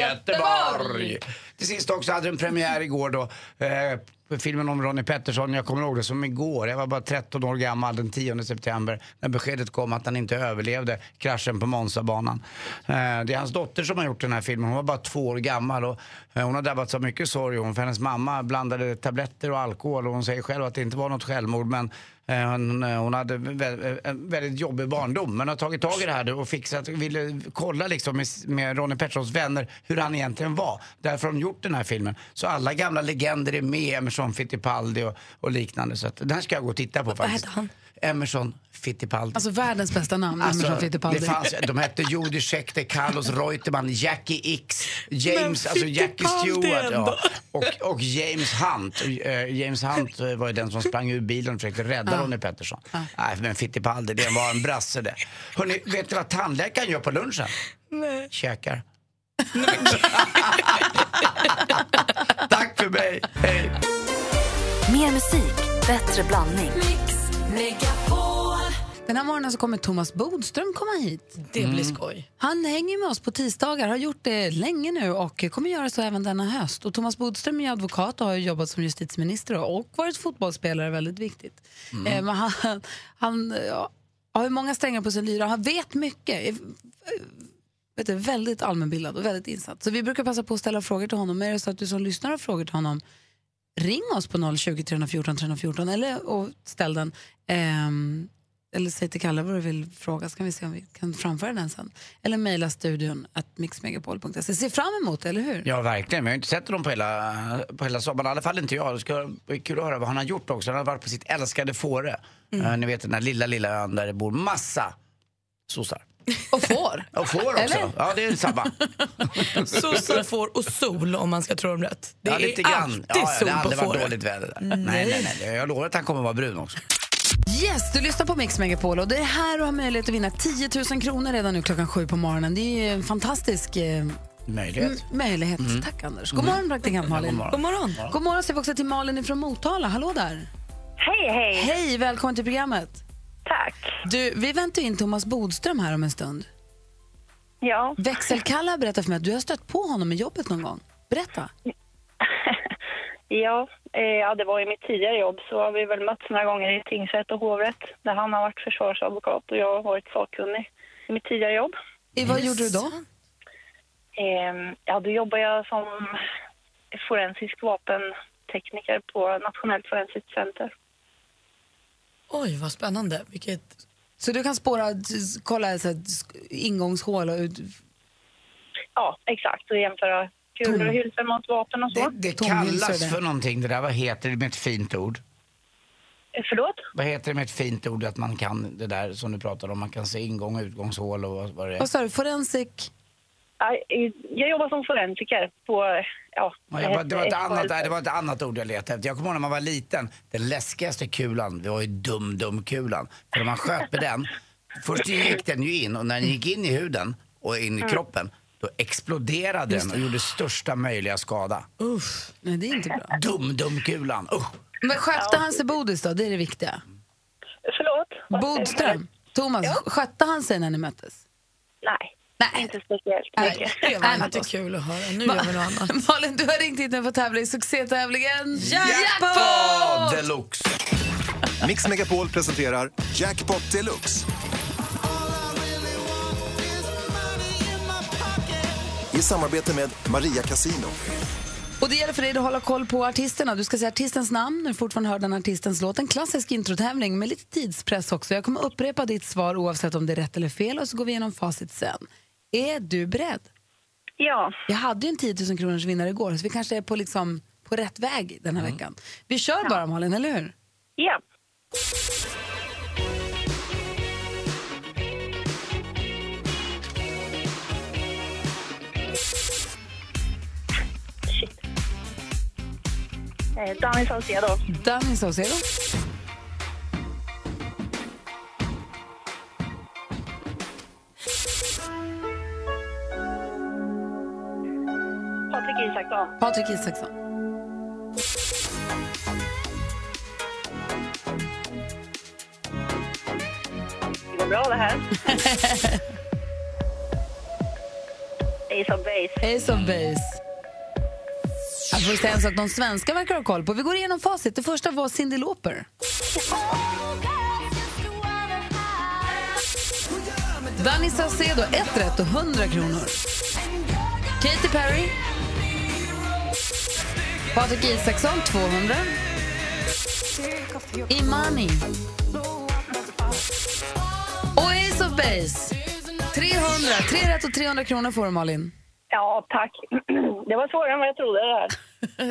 [SPEAKER 2] Göteborg. Till sist också hade de premiär igår då. Eh, på filmen om Ronnie Pettersson, jag kommer ihåg det som igår. Jag var bara 13 år gammal den 10 september när beskedet kom att han inte överlevde kraschen på Monzabanan. Eh, det är hans dotter som har gjort den här filmen. Hon var bara två år gammal och eh, hon har drabbats av mycket sorg. Hon, för hennes mamma blandade tabletter och alkohol och hon säger själv att det inte var något självmord men Eh, Hon, eh, hon hade vä- eh, en väldigt jobbig barndom men har tagit tag i det här nu och fixat, ville kolla liksom med, med Ronnie Petterssons vänner hur han egentligen var. Därför har de gjort den här filmen. Så alla gamla legender är med, Emerson Fittipaldi och, och liknande. Så att, den här ska jag gå och titta på faktiskt.
[SPEAKER 3] hette han?
[SPEAKER 2] Emerson Fittipaldi.
[SPEAKER 1] Alltså världens bästa namn,
[SPEAKER 2] Alltså,
[SPEAKER 1] Emerson Fittipaldi.
[SPEAKER 2] Det fanns, de hette Judy Schechter, Carlos Reutemann, Jackie X, James,
[SPEAKER 3] Men
[SPEAKER 2] alltså Jackie
[SPEAKER 3] Fittipaldi
[SPEAKER 2] Stewart ja.
[SPEAKER 3] ändå.
[SPEAKER 2] och, och James Hunt. Eh, James Hunt eh, var ju den som sprang ur bilen och försökte rädda Ronnie Pettersson. Nej, men Fittipaldi, det var en brasse det. Hörrni, vet ni vad tandläkaren gör på lunchen? Nej. Käkar. Tack för mig, hej!
[SPEAKER 4] Mer musik, bättre blandning.
[SPEAKER 1] Den här morgonen så kommer Thomas Bodström komma hit.
[SPEAKER 3] Det blir
[SPEAKER 2] Mm.
[SPEAKER 3] skoj.
[SPEAKER 1] Han hänger med oss på tisdagar, har gjort det länge nu och kommer göra så även denna höst. Och Thomas Bodström är advokat och har jobbat som justitieminister och- och varit fotbollsspelare, väldigt viktigt.
[SPEAKER 2] Mm.
[SPEAKER 1] Eh, men han han ja, har ju många strängar på sin lyra, han vet mycket. Är, vet du, väldigt allmänbildad och väldigt insatt. Så vi brukar passa på att ställa frågor till honom. Är det så att du som lyssnar har frågor till honom, ring oss på 020 314 314 eller, och ställ den. Ehm, eller säg till Kalle vad du vill fråga så kan vi se om vi kan framföra den sen. Eller mejla studion att mixmegapol.se. Se fram emot det, eller hur?
[SPEAKER 2] Ja, verkligen. Men jag har inte sett honom på hela, på hela sommaren. I alla fall inte jag. Det ska vara kul att höra vad han har gjort också. Han har varit på sitt älskade Fårö. Eh, ni vet den där lilla, lilla ön där det bor massa sossar.
[SPEAKER 1] Och får.
[SPEAKER 2] Och får också.
[SPEAKER 1] Eller?
[SPEAKER 2] Ja, det är samma.
[SPEAKER 3] Sossar får och sol om man ska tro dem rätt. Det
[SPEAKER 2] ja,
[SPEAKER 3] är alltid
[SPEAKER 2] Ja, ja,
[SPEAKER 3] sol
[SPEAKER 2] det har aldrig
[SPEAKER 3] på
[SPEAKER 2] varit
[SPEAKER 3] fåret.
[SPEAKER 2] dåligt väder där. Nej. nej, nej, Jag lovar att han kommer vara brun också.
[SPEAKER 1] Yes, du lyssnar på Mix Megapol och det är här du har möjlighet att vinna 10 000 kronor redan nu klockan sju på morgonen. Det är ju en fantastisk eh,
[SPEAKER 2] Möjlighet.
[SPEAKER 1] möjlighet. Tack Anders. God morgon praktikant Malin. Mm. God
[SPEAKER 3] God morgon.
[SPEAKER 1] God morgon säger vi också till Malin från Motala. Hallå där!
[SPEAKER 6] Hej, hej.
[SPEAKER 1] Hej, välkommen till programmet.
[SPEAKER 6] Tack.
[SPEAKER 1] Du, vi väntar in Thomas Bodström här om en stund.
[SPEAKER 6] Ja.
[SPEAKER 1] Växelkalla berättar för mig att du har stött på honom i jobbet någon gång. Berätta.
[SPEAKER 6] Ja, eh, ja, det var ju mitt tidigare jobb så har vi väl mötts några gånger i tingsrätt och hovrätt där han har varit försvarsadvokat och jag har varit sakkunnig i mitt tidigare jobb.
[SPEAKER 1] I, vad gjorde du då?
[SPEAKER 6] Eh, ja, då jobbar jag som forensisk vapentekniker på Nationellt forensiskt center.
[SPEAKER 3] Oj, vad spännande. Vilket
[SPEAKER 1] Så du kan spåra, s- kolla så här, sk- ingångshål och ut...
[SPEAKER 6] Ja, exakt. Och jämföra kulor och hylsor mot vapen och så.
[SPEAKER 2] Mm. Det kallas för någonting det där. Vad heter det med ett fint ord?
[SPEAKER 6] Eh, Förlåt?
[SPEAKER 2] Vad heter det med ett fint ord att man kan det där som du pratade om? Man kan se ingång och utgångshål och vad, vad det är.
[SPEAKER 1] Vad sa du? Forensik?
[SPEAKER 6] Ja, eh, Jag jobbar som forensiker på... Ja, eh,
[SPEAKER 2] Ja, jag bara, det, var ett
[SPEAKER 6] SKL.
[SPEAKER 2] annat, nej, det var ett annat ord jag letade efter. Jag kommer ihåg när man var liten, den läskigaste kulan, det var ju dum-dum-kulan. För när man sköt med den, först gick den ju in och när den gick in i huden och in i
[SPEAKER 1] Mm.
[SPEAKER 2] kroppen, då exploderade den och gjorde största möjliga skada.
[SPEAKER 1] Uff, nej det är inte bra.
[SPEAKER 2] Dum-dum-kulan, usch!
[SPEAKER 1] Men skötte han sig Bodis då? Det är det viktiga.
[SPEAKER 6] Förlåt?
[SPEAKER 1] Bodström, Thomas, skötte han sig när ni möttes?
[SPEAKER 6] Nej,
[SPEAKER 1] inte
[SPEAKER 6] speciellt
[SPEAKER 1] mycket.
[SPEAKER 3] Det var inte kul att höra. Nu gör vi något annat.
[SPEAKER 1] Malin, du har ringt hit nu för att tävla i succétävlingen
[SPEAKER 8] Jackpot!
[SPEAKER 2] Deluxe!
[SPEAKER 8] Mix Megapol presenterar Jackpot Deluxe. I samarbete med Maria Casino.
[SPEAKER 1] Och det gäller för dig att hålla koll på artisterna. Du ska säga artistens namn när du fortfarande hör den artistens låt. En klassisk introtävling med lite tidspress också. Jag kommer upprepa ditt svar oavsett om det är rätt eller fel och så går vi igenom facit sen. Är du beredd?
[SPEAKER 6] Ja.
[SPEAKER 1] Jag hade ju en 10 000 kronors vinnare igår så vi kanske är på, liksom, på rätt väg den här veckan. Vi kör bara Malin, eller hur?
[SPEAKER 6] Ja. Shit. Eh, Danny Saucedo.
[SPEAKER 1] Danny Saucedo.
[SPEAKER 6] Patrik Isaksson.
[SPEAKER 1] Patrik Isaksson.
[SPEAKER 6] Det går bra det här. Ace of Base.
[SPEAKER 1] Ace of Base. Jag får säga en sak de svenska verkar ha koll på. Vi går igenom facit. Det första var Cyndi Lauper. Danny Saucedo, ett rätt och 100 kronor. Katy Perry. Patrik Isaksson, 200. Imani. Och Ace of Base, 300. Tre rätt och 300 kronor får du, Malin.
[SPEAKER 6] Ja, tack. Det var svårare än vad jag trodde det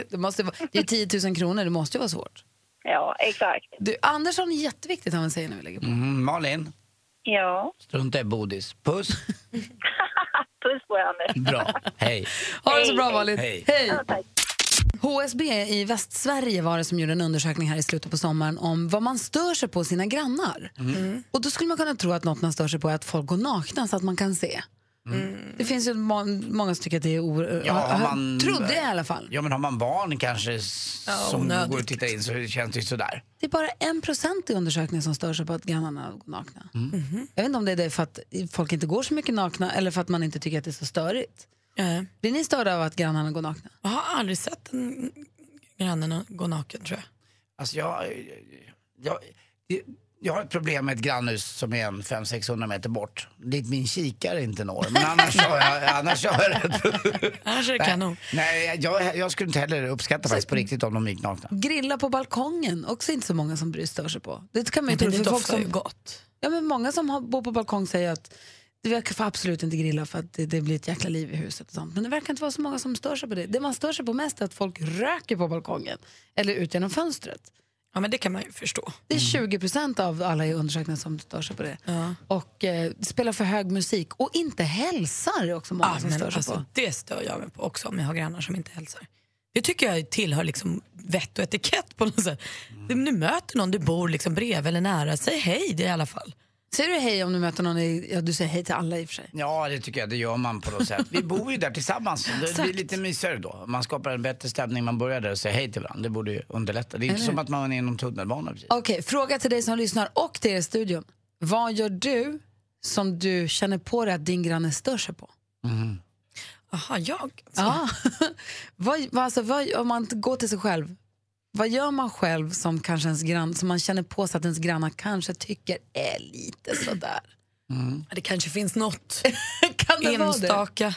[SPEAKER 6] här.
[SPEAKER 1] det, måste vara, det är 10 000 kronor, det måste ju vara svårt.
[SPEAKER 6] Ja, exakt.
[SPEAKER 1] Du, Andersson är jätteviktigt han säger när vi lägger på.
[SPEAKER 2] Mm, Malin,
[SPEAKER 6] Ja.
[SPEAKER 2] strunta i bodis. Puss,
[SPEAKER 6] Puss på er, Anders.
[SPEAKER 2] bra, hej.
[SPEAKER 1] Ha det så bra, Malin.
[SPEAKER 2] Hej.
[SPEAKER 1] HSB i Västsverige var det som gjorde en undersökning här i slutet på sommaren om vad man stör sig på sina grannar.
[SPEAKER 2] Mm.
[SPEAKER 1] Och då skulle man kunna tro att något man stör sig på är att folk går nakna så att man kan se. Det finns ju må- många som tycker att det är o-
[SPEAKER 2] Mm. Ja, har man-
[SPEAKER 1] Trodde jag i alla fall.
[SPEAKER 2] Ja men har man barn kanske s-
[SPEAKER 1] Ja,
[SPEAKER 2] som
[SPEAKER 1] onödigt.
[SPEAKER 2] går och tittar in så känns det ju sådär.
[SPEAKER 1] Det är bara en procent i undersökningen som stör sig på att grannarna går nakna.
[SPEAKER 2] Mm.
[SPEAKER 1] Jag vet inte om det är det för att folk inte går så mycket nakna eller för att man inte tycker att det är så störigt. Blir ni störda av att grannarna går nakna?
[SPEAKER 3] Jag har aldrig sett en grannen gå naken tror jag.
[SPEAKER 2] Alltså jag, jag, jag har ett problem med ett grannhus som är en 500-600 meter bort. Dit min kikare inte når. Men annars har jag, annars har jag
[SPEAKER 3] Annars är det kanon.
[SPEAKER 2] Nej, jag, jag skulle inte heller uppskatta faktiskt på riktigt om de gick nakna.
[SPEAKER 1] Grilla på balkongen, också inte så många som bryr stör sig på. Det kan man ju
[SPEAKER 3] Men
[SPEAKER 1] tro
[SPEAKER 3] det
[SPEAKER 1] för folk
[SPEAKER 3] doftar ju
[SPEAKER 1] som... Ja, men många som har, bor på balkong säger att jag får absolut inte grilla för att det, det blir ett jäkla liv i huset. Och sånt. Men det verkar inte vara så många som stör sig på det. Det man stör sig på mest är att folk röker på balkongen eller ut genom fönstret.
[SPEAKER 3] Ja men det kan man ju förstå.
[SPEAKER 1] Det är 20 procent av alla i undersökningen som stör sig på det.
[SPEAKER 3] Ja.
[SPEAKER 1] Och eh, spelar för hög musik och inte hälsar är också många
[SPEAKER 3] Ja,
[SPEAKER 1] som
[SPEAKER 3] men
[SPEAKER 1] stör sig
[SPEAKER 3] alltså,
[SPEAKER 1] på.
[SPEAKER 3] det stör jag mig på också om jag har grannar som inte hälsar. Det tycker jag tillhör liksom vett och etikett på något sätt. Om du möter någon du bor liksom bredvid eller nära, säg hej det i alla fall.
[SPEAKER 1] Säger du hej om du möter någon i, ja du säger hej till alla i och för sig.
[SPEAKER 2] Ja, det tycker jag. Det gör man på något sätt. Vi bor ju där tillsammans. Det blir lite mysigare då. Man skapar en bättre stämning. Man börjar där och säger hej till varandra. Det borde ju underlätta. Det är inte
[SPEAKER 1] Eller
[SPEAKER 2] som
[SPEAKER 1] hur?
[SPEAKER 2] att man är inom tunnelbanan precis.
[SPEAKER 1] Okej, fråga till dig som lyssnar och till er i studion. Vad gör du som du känner på dig att din granne stör sig på?
[SPEAKER 3] Aha, jag?
[SPEAKER 1] Ja. vad, vad, alltså, vad, om man går till sig själv, vad gör man själv som, kanske ens grann, som man känner på sig att ens grannar kanske tycker är lite sådär?
[SPEAKER 3] Det kanske finns något
[SPEAKER 1] kan det vara det?
[SPEAKER 3] enstaka.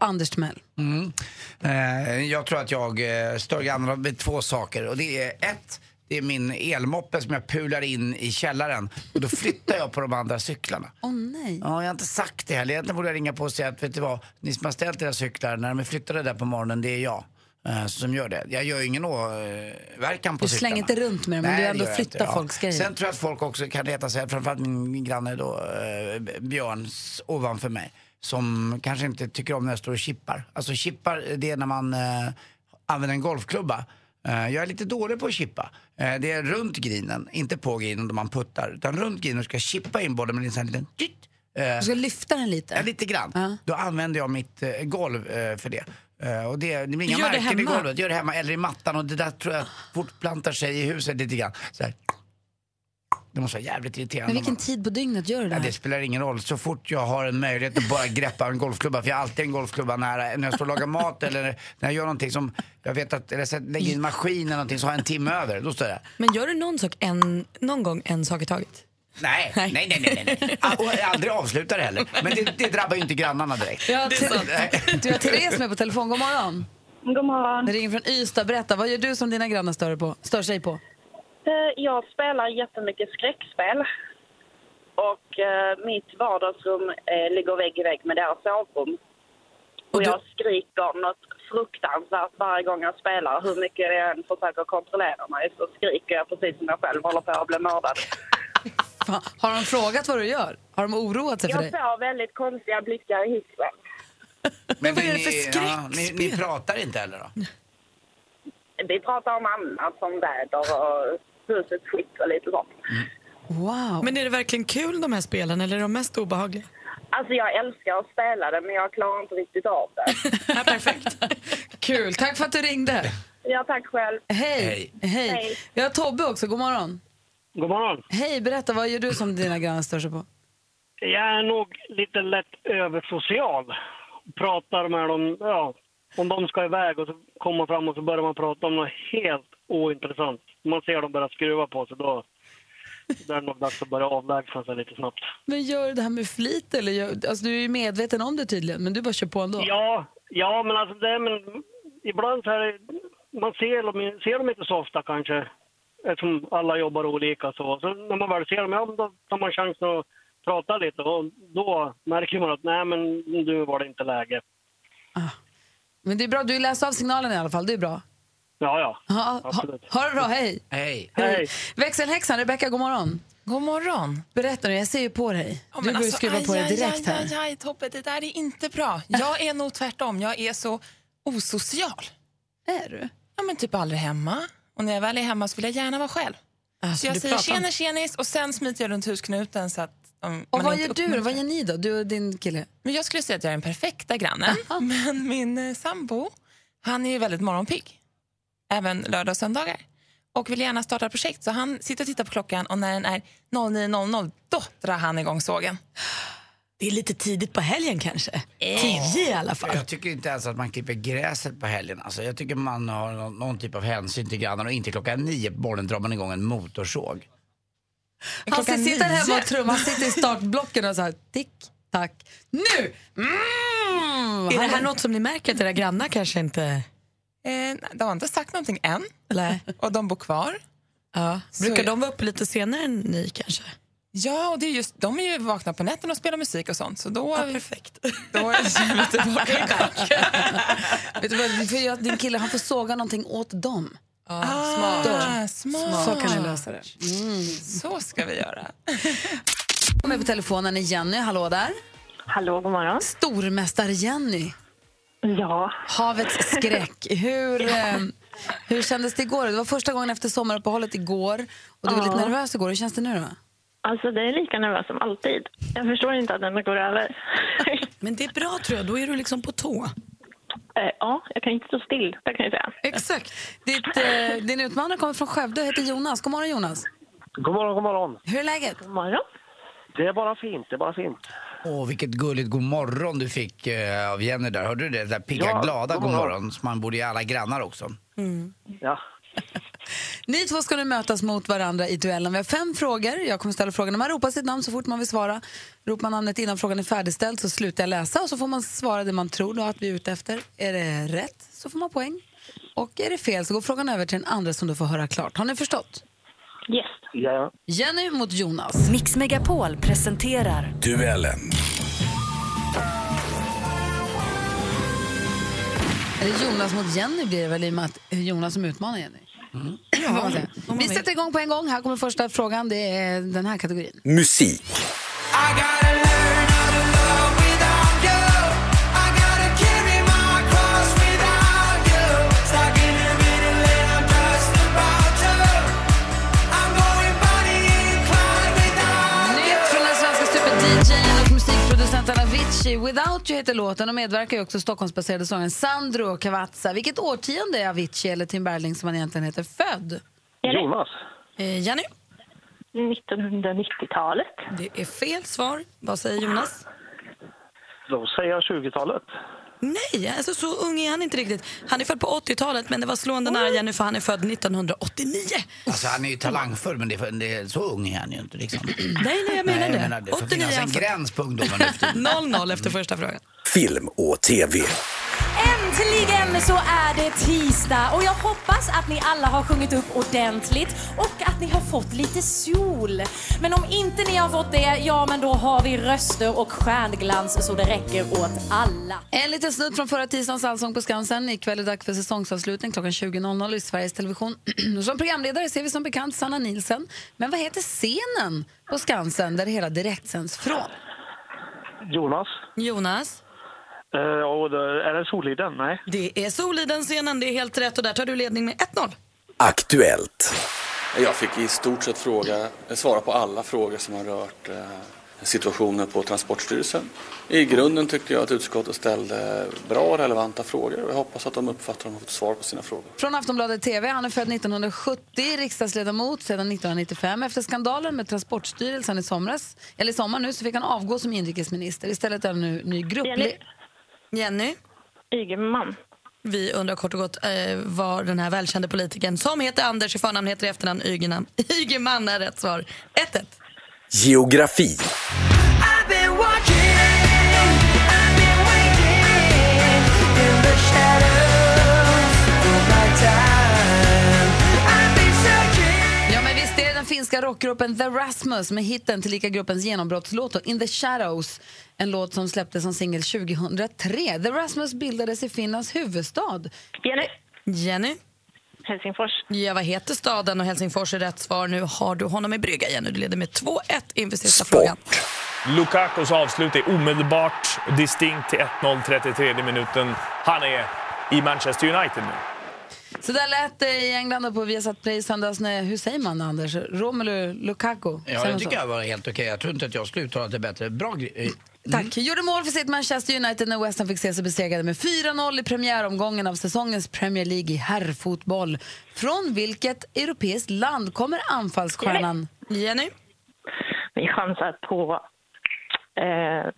[SPEAKER 1] Anders Timell.
[SPEAKER 2] Mm. Eh, jag tror att jag eh, stör grannarna med två saker. Och det är ett, det är min elmoppe som jag pular in i källaren. Och då flyttar jag på de andra cyklarna.
[SPEAKER 1] Åh nej.
[SPEAKER 2] Ja, jag har inte sagt det heller. Egentligen borde jag ringa på och säga att vet du vad, ni som har ställt era cyklar, när de är flyttade där på morgonen, det är jag eh, som gör det. Jag gör ju ingen åverkan på
[SPEAKER 1] Du slänger
[SPEAKER 2] cyklarna.
[SPEAKER 1] inte runt med dem, men
[SPEAKER 2] Nej,
[SPEAKER 1] du
[SPEAKER 2] det
[SPEAKER 1] ändå
[SPEAKER 2] gör jag inte,
[SPEAKER 1] flyttar folks grejer.
[SPEAKER 2] Sen tror jag att folk också kan reta sig, framförallt min granne då, eh, Björns ovanför mig, som kanske inte tycker om när jag står och chippar. Alltså chippar, det är när man eh, använder en golfklubba. Eh, jag är lite dålig på att chippa. Eh, det är runt grinen, inte på grinen då man puttar, utan runt grinen ska jag chippa in bollen med en sån här liten tytt. Eh,
[SPEAKER 1] Du ska lyfta den lite.
[SPEAKER 2] Ja, lite grann. Då använder jag mitt eh, golv eh, för det. Eh, och det, det blir
[SPEAKER 1] Gör
[SPEAKER 2] inga
[SPEAKER 1] det
[SPEAKER 2] märken i
[SPEAKER 1] hemma.
[SPEAKER 2] golvet. Gör det hemma eller i mattan. Och det där tror jag fortplantar sig i huset lite grann. Så här. Det måste vara jävligt irriterande.
[SPEAKER 1] Men vilken
[SPEAKER 2] om
[SPEAKER 1] tid på dygnet gör du det
[SPEAKER 2] man... ja, det
[SPEAKER 1] här?
[SPEAKER 2] spelar ingen roll. Så fort jag har en möjlighet att bara greppa en golfklubba, för jag har alltid en golfklubba nära. När jag står och lagar mat eller när jag gör någonting som, jag vet att, eller så lägger in maskin eller någonting så har jag en timme över. Då står jag där.
[SPEAKER 3] Men gör du någon, sak en, någon gång en sak i taget?
[SPEAKER 2] Nej, nej, nej, nej, nej. nej. Ah, Och jag aldrig avslutar det heller. Men det, det drabbar ju inte grannarna direkt.
[SPEAKER 1] Ja, det är
[SPEAKER 2] sant.
[SPEAKER 1] Du har Therese med på telefon. God morgon.
[SPEAKER 6] God morgon.
[SPEAKER 1] Det ringer från Ystad. Berätta, vad gör du som dina grannar stör, på, stör sig på?
[SPEAKER 6] Eh, Jag spelar jättemycket skräckspel. Och eh, mitt vardagsrum eh, ligger vägg i vägg med deras sovrum. Och jag skriker något fruktansvärt varje gång jag spelar. Hur mycket jag än försöker kontrollera mig så skriker jag precis som jag själv håller på att bli mördad.
[SPEAKER 1] Fan, Har de frågat vad du gör? Har de oroat sig för
[SPEAKER 6] Jag
[SPEAKER 1] dig?
[SPEAKER 6] får väldigt konstiga blickar i hissen.
[SPEAKER 2] Men
[SPEAKER 1] vad är det
[SPEAKER 2] ni-
[SPEAKER 1] för
[SPEAKER 2] ja, ni, ni pratar inte heller då?
[SPEAKER 6] Vi pratar om annat som väder och husets skick och lite sånt.
[SPEAKER 1] Wow.
[SPEAKER 3] Men är det verkligen kul de här spelen eller är de mest obehagliga?
[SPEAKER 6] Alltså jag älskar att spela det men jag klarar inte riktigt av det.
[SPEAKER 1] Kul. Tack för att du ringde.
[SPEAKER 6] Ja, tack själv.
[SPEAKER 1] Hej. Hej.
[SPEAKER 6] Hej.
[SPEAKER 1] Vi har Tobbe också. God morgon.
[SPEAKER 9] God morgon.
[SPEAKER 1] Hej, berätta, vad gör du som dina grannar stör sig på?
[SPEAKER 9] Jag är nog lite lätt översocial. Pratar med dem, ja, om de ska iväg och så kommer fram och så börjar man prata om något helt ointressant. Man ser dem börja skruva på sig då. Då är det nog dags att börja avlägsna sig lite snabbt.
[SPEAKER 1] Men gör du det här med flit? Eller gör, alltså, du är ju medveten om det tydligen, men du bara kör på ändå.
[SPEAKER 9] Ja, ja men alltså det, men ibland så här, man ser dem, ser dem inte så ofta kanske. Eftersom alla jobbar olika så. så när man väl ser dem, ja men då tar man chansen att prata lite och då märker man att nej men nu var det inte läge.
[SPEAKER 1] Men det är bra, du läser av signalen i alla fall. Det är bra.
[SPEAKER 9] Ja, ja.
[SPEAKER 1] Ha, ha, ha det bra, hej.
[SPEAKER 2] Hej.
[SPEAKER 9] Hej.
[SPEAKER 1] Växelhäxan, Rebecka, god morgon. God morgon. Berätta nu, jag ser ju på dig.
[SPEAKER 10] Ja,
[SPEAKER 1] du
[SPEAKER 10] men
[SPEAKER 1] börjar
[SPEAKER 10] alltså,
[SPEAKER 1] skruva
[SPEAKER 10] aj,
[SPEAKER 1] på dig
[SPEAKER 10] aj,
[SPEAKER 1] direkt
[SPEAKER 10] aj,
[SPEAKER 1] här.
[SPEAKER 10] Aj, aj, Tobbe, det där är inte bra. Jag är nog tvärtom. Jag är så osocial.
[SPEAKER 1] Är du?
[SPEAKER 10] Ja, men typ aldrig hemma. Och när jag väl är hemma så vill jag gärna vara själv.
[SPEAKER 1] Alltså,
[SPEAKER 10] så jag
[SPEAKER 1] du
[SPEAKER 10] säger
[SPEAKER 1] pratar
[SPEAKER 10] tjena
[SPEAKER 1] inte.
[SPEAKER 10] tjenis och sen smiter jag runt husknuten så att um,
[SPEAKER 1] Och vad gör du då? Vad gör ni då? Du och din kille?
[SPEAKER 10] Men jag skulle säga att jag är den perfekta grannen. Men min eh, sambo, han är ju väldigt morgonpigg. Även lördag och söndagar. Och vill gärna starta projekt. Så han sitter och tittar på klockan och när den är 09.00 då drar han igång sågen.
[SPEAKER 3] Det är lite tidigt på helgen kanske.
[SPEAKER 1] Eh.
[SPEAKER 3] Tio i alla fall.
[SPEAKER 2] Jag tycker inte ens att man klipper gräset på helgen. Alltså, jag tycker man har någon, någon typ av hänsyn till grannarna och inte klockan nio på morgonen drar man igång en motorsåg.
[SPEAKER 1] Han
[SPEAKER 10] Klockan
[SPEAKER 1] sitter hemma
[SPEAKER 10] nio.
[SPEAKER 1] och trummar, han sitter i startblocken och så här, tick, tack. Nu! Mm!
[SPEAKER 3] Är det här något som ni märker att era grannar kanske inte...
[SPEAKER 10] Eh, nej, de har inte sagt någonting än. Och de bor kvar.
[SPEAKER 3] Ja. Brukar de vara uppe lite senare än ni kanske?
[SPEAKER 10] Ja, och det är just, de är ju vakna på nätterna och spelar musik och sånt. Så då, perfekt. Då är vi tillbaka i tack.
[SPEAKER 1] Vet du vad, för jag, din kille han får såga någonting åt dem.
[SPEAKER 10] Ah,
[SPEAKER 1] smart.
[SPEAKER 10] smart.
[SPEAKER 1] Så kan ni lösa det.
[SPEAKER 10] Så ska vi göra.
[SPEAKER 1] Kom med på telefonen är Jenny. Hallå där.
[SPEAKER 11] Hallå, god morgon.
[SPEAKER 1] Stormästare Jenny.
[SPEAKER 11] Ja.
[SPEAKER 1] Havets skräck. Hur, eh, hur kändes det igår? Det var första gången efter sommaruppehållet igår. Och du var
[SPEAKER 11] Ja.
[SPEAKER 1] lite nervös igår. Hur känns det nu då?
[SPEAKER 11] Alltså det är lika nervös som alltid. Jag förstår inte att den går över.
[SPEAKER 3] Men det är bra tror jag, då är du liksom på tå.
[SPEAKER 11] Eh, ja, jag kan inte stå still, det kan jag säga.
[SPEAKER 1] Exakt. Ditt, eh, din utmanare kommer från Skövde och heter Jonas. God morgon Jonas.
[SPEAKER 9] God morgon, god morgon.
[SPEAKER 1] Hur är läget? God
[SPEAKER 11] morgon.
[SPEAKER 9] Det är bara fint, det är bara fint.
[SPEAKER 2] Åh, vilket gulligt god morgon du fick eh, av Jenny där. Hörde du det? Det där pigga,
[SPEAKER 9] Ja,
[SPEAKER 2] glada
[SPEAKER 9] god
[SPEAKER 2] god
[SPEAKER 9] morgon.
[SPEAKER 2] morgon som man borde ge alla grannar också.
[SPEAKER 9] Ja.
[SPEAKER 1] Ni två ska nu mötas mot varandra i duellen. Vi har fem frågor. Jag kommer ställa frågorna. Man ropar sitt namn så fort man vill svara. Ropar man namnet innan frågan är färdigställd så slutar jag läsa och så får man svara det man tror då att vi är ute efter. Är det rätt så får man poäng. Och är det fel så går frågan över till den andra som du får höra klart. Har ni förstått?
[SPEAKER 11] Yes.
[SPEAKER 12] Ja.
[SPEAKER 1] Jenny mot Jonas.
[SPEAKER 4] Mix Megapol presenterar
[SPEAKER 13] Duellen.
[SPEAKER 1] Eller Jonas mot Jenny blir det väl i och med att det är Jonas som utmanar Jenny. Får man säga. Vi sätter igång på en gång. Här kommer första frågan. Det är den här kategorin.
[SPEAKER 13] Musik.
[SPEAKER 1] Nytt från den svenska superdjn och musikproducenten Avicii. Without You heter låten och medverkar ju också Stockholmsbaserade sångaren Sandro Cavazza. Vilket årtionde är Avicii, eller Tim Bergling som han egentligen heter, född?
[SPEAKER 12] Jonas.
[SPEAKER 3] Eh, Jenny?
[SPEAKER 11] 1990-talet.
[SPEAKER 3] Det är fel svar. Vad säger Jonas?
[SPEAKER 12] Då säger jag 20-talet.
[SPEAKER 3] Nej, alltså så ung är han inte riktigt. Han är född på 80-talet, men det var slående nära Jenny för han är född 1989.
[SPEAKER 2] Alltså han är ju talangfull men det är, det är så ung är han ju inte liksom.
[SPEAKER 3] Nej, nej, jag menar det.
[SPEAKER 2] det får
[SPEAKER 3] 89
[SPEAKER 2] finnas en
[SPEAKER 3] alltså.
[SPEAKER 2] gräns på ungdomen.
[SPEAKER 3] 0-0 efter första frågan.
[SPEAKER 13] Film och TV.
[SPEAKER 14] Äntligen så är det tisdag och jag hoppas att ni alla har sjungit upp ordentligt och att ni har fått lite sol. Men om inte ni har fått det, ja men då har vi röster och stjärnglans så det räcker åt alla.
[SPEAKER 1] En liten snutt från förra tisdagens Allsång på Skansen. Ikväll är det dags för säsongsavslutning klockan 20.00 i Sveriges Television. Och som programledare ser vi som bekant Sanna Nilsen. Men vad heter scenen på Skansen där det hela direktsänds från?
[SPEAKER 12] Jonas.
[SPEAKER 3] Jonas?
[SPEAKER 12] Eh, och då, är det Soliden? Nej.
[SPEAKER 3] Det är Soliden-scenen, det är helt rätt och där tar du ledning med 1-0.
[SPEAKER 13] Aktuellt.
[SPEAKER 15] Jag fick i stort sett fråga, svara på alla frågor som har rört eh, situationen på Transportstyrelsen. I grunden tyckte jag att utskottet ställde bra och relevanta frågor och jag hoppas att de uppfattar att de har fått svar på sina frågor.
[SPEAKER 1] Från Aftonbladet TV. Han är född 1970, riksdagsledamot sedan 1995. Efter skandalen med Transportstyrelsen i somras, eller i sommar nu, så fick han avgå som inrikesminister. Istället är han nu ny
[SPEAKER 3] Jenny.
[SPEAKER 1] gruppledare.
[SPEAKER 3] Jenny?
[SPEAKER 11] Ygeman.
[SPEAKER 3] Vi undrar kort och gott eh, var den här välkände politikern som heter Anders i förnamn heter i efternamn Ygeman. Ygeman är rätt svar. 1-1.
[SPEAKER 13] Geografi.
[SPEAKER 1] Ja, men visst är det den finska rockgruppen The Rasmus med hitten tillika gruppens genombrottslåt då, In the Shadows. En låt som släpptes som singel 2003. The Rasmus bildades i Finlands huvudstad.
[SPEAKER 11] Jenny.
[SPEAKER 3] Jenny?
[SPEAKER 11] Helsingfors.
[SPEAKER 3] Ja, vad heter staden? Och Helsingfors är rätt svar. Nu har du honom i brygga, Jenny. Du leder med 2-1 inför sista frågan.
[SPEAKER 16] Lukakos avslut är omedelbart distinkt till 1-0 33 minuten. Han är i Manchester United nu.
[SPEAKER 1] Så där lät det i England och på Viasat Play i söndags. När, hur säger man Anders? Romelu Lukaku? Säger
[SPEAKER 2] Ja,
[SPEAKER 1] man
[SPEAKER 2] det
[SPEAKER 1] så?
[SPEAKER 2] tycker jag var helt okej. Jag tror inte att jag skulle uttala det bättre. Bra eh, grej.
[SPEAKER 1] Tack.
[SPEAKER 2] Mm.
[SPEAKER 1] Gjorde mål för sitt Manchester United när West Ham fick se sig besegrade med 4-0 i premiäromgången av säsongens Premier League i herrfotboll. Från vilket europeiskt land kommer anfallsstjärnan?
[SPEAKER 3] Jenny?
[SPEAKER 11] Vi chansar på eh,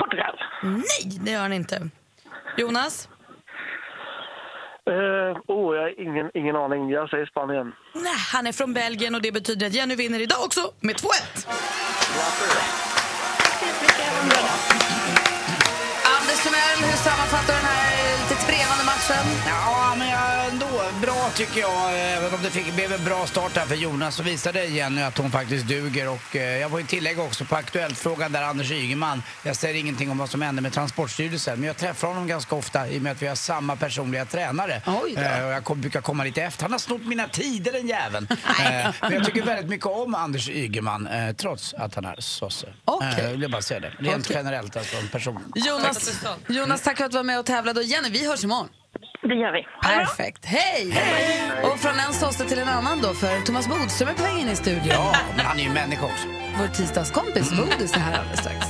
[SPEAKER 11] Portugal.
[SPEAKER 3] Nej, det gör han inte. Jonas?
[SPEAKER 12] Eh, oh, jag har ingen, ingen aning. Jag säger Spanien.
[SPEAKER 3] Nej, han är från Belgien och det betyder att Jenny vinner idag också med 2-1.
[SPEAKER 1] Anders Timell, hur sammanfattar du den här lite trevande matchen?
[SPEAKER 2] Ja, men jag- ändå bra tycker jag. Även om det fick, blev en bra start här för Jonas så visade Jenny att hon faktiskt duger. Och eh, jag får ju tillägga också på Aktuellt-frågan där Anders Ygeman. Jag säger ingenting om vad som hände med Transportstyrelsen. Men jag träffar honom ganska ofta i och med att vi har samma personliga tränare. Eh, och jag kom, brukar komma lite efter. Han har snott mina tider den jäveln. eh, men jag tycker väldigt mycket om Anders Ygeman eh, trots att han är sosse.
[SPEAKER 1] Okej.
[SPEAKER 2] Eh, vill jag bara säga det. Rent
[SPEAKER 1] Okej.
[SPEAKER 2] generellt alltså om personen.
[SPEAKER 1] Jonas, Jonas, tack för att du var med och tävlade. Och Jenny, vi hörs imorgon.
[SPEAKER 11] Det gör vi.
[SPEAKER 1] Perfekt. Hej! Och från en sosse till en annan då, för Thomas Bodström är på väg in i studion.
[SPEAKER 2] Ja, men han är ju människa också.
[SPEAKER 1] Vår tisdagskompis Bodis är här alldeles strax.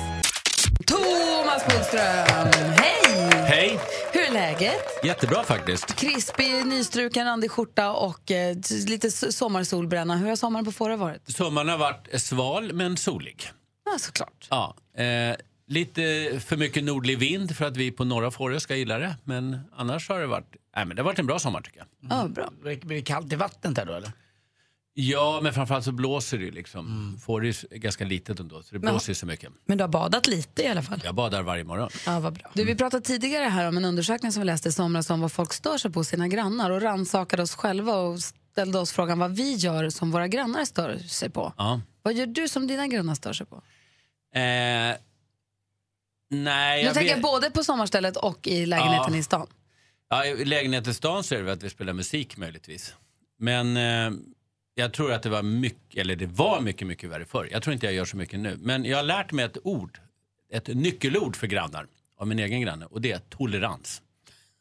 [SPEAKER 1] Thomas Bodström, hej!
[SPEAKER 17] Hej!
[SPEAKER 1] Hur är läget?
[SPEAKER 17] Jättebra faktiskt.
[SPEAKER 1] Krispig, nystruken, randig skjorta och eh, t- lite s- sommarsolbränna. Hur har sommaren på Fårö varit?
[SPEAKER 17] Sommaren har varit sval men solig.
[SPEAKER 1] Ja, såklart.
[SPEAKER 17] Ja, eh, lite för mycket nordlig vind för att vi på norra Fårö ska gilla det. Men annars har det varit, nej, men det har varit en bra sommar tycker jag.
[SPEAKER 1] Ja, bra.
[SPEAKER 2] Blir det kallt i vattnet där då eller?
[SPEAKER 17] Ja, men framförallt så blåser det ju liksom. Får det ju ganska litet ändå, så det
[SPEAKER 1] Men-
[SPEAKER 17] blåser ju så mycket.
[SPEAKER 3] Mm. Men du har badat lite i alla fall?
[SPEAKER 17] Jag badar varje morgon.
[SPEAKER 3] Ja, vad bra.
[SPEAKER 1] Du, vi pratade tidigare här om en undersökning som vi läste i somras om vad folk stör sig på hos sina grannar och rannsakade oss själva och ställde oss frågan vad vi gör som våra grannar stör sig på.
[SPEAKER 17] Ja.
[SPEAKER 1] Vad gör du som dina grannar stör sig på?
[SPEAKER 17] Eh, nej,
[SPEAKER 1] nu
[SPEAKER 17] jag
[SPEAKER 1] tänker
[SPEAKER 17] vet-
[SPEAKER 1] jag både på sommarstället och i lägenheten
[SPEAKER 17] Ja.
[SPEAKER 1] i stan.
[SPEAKER 17] Ja, I lägenheten i stan så är det väl att vi spelar musik möjligtvis. Men eh, jag tror att det var mycket, eller det var mycket, mycket värre förr. Jag tror inte jag gör så mycket nu. Men jag har lärt mig ett ord, ett nyckelord för grannar av min egen granne och det är tolerans.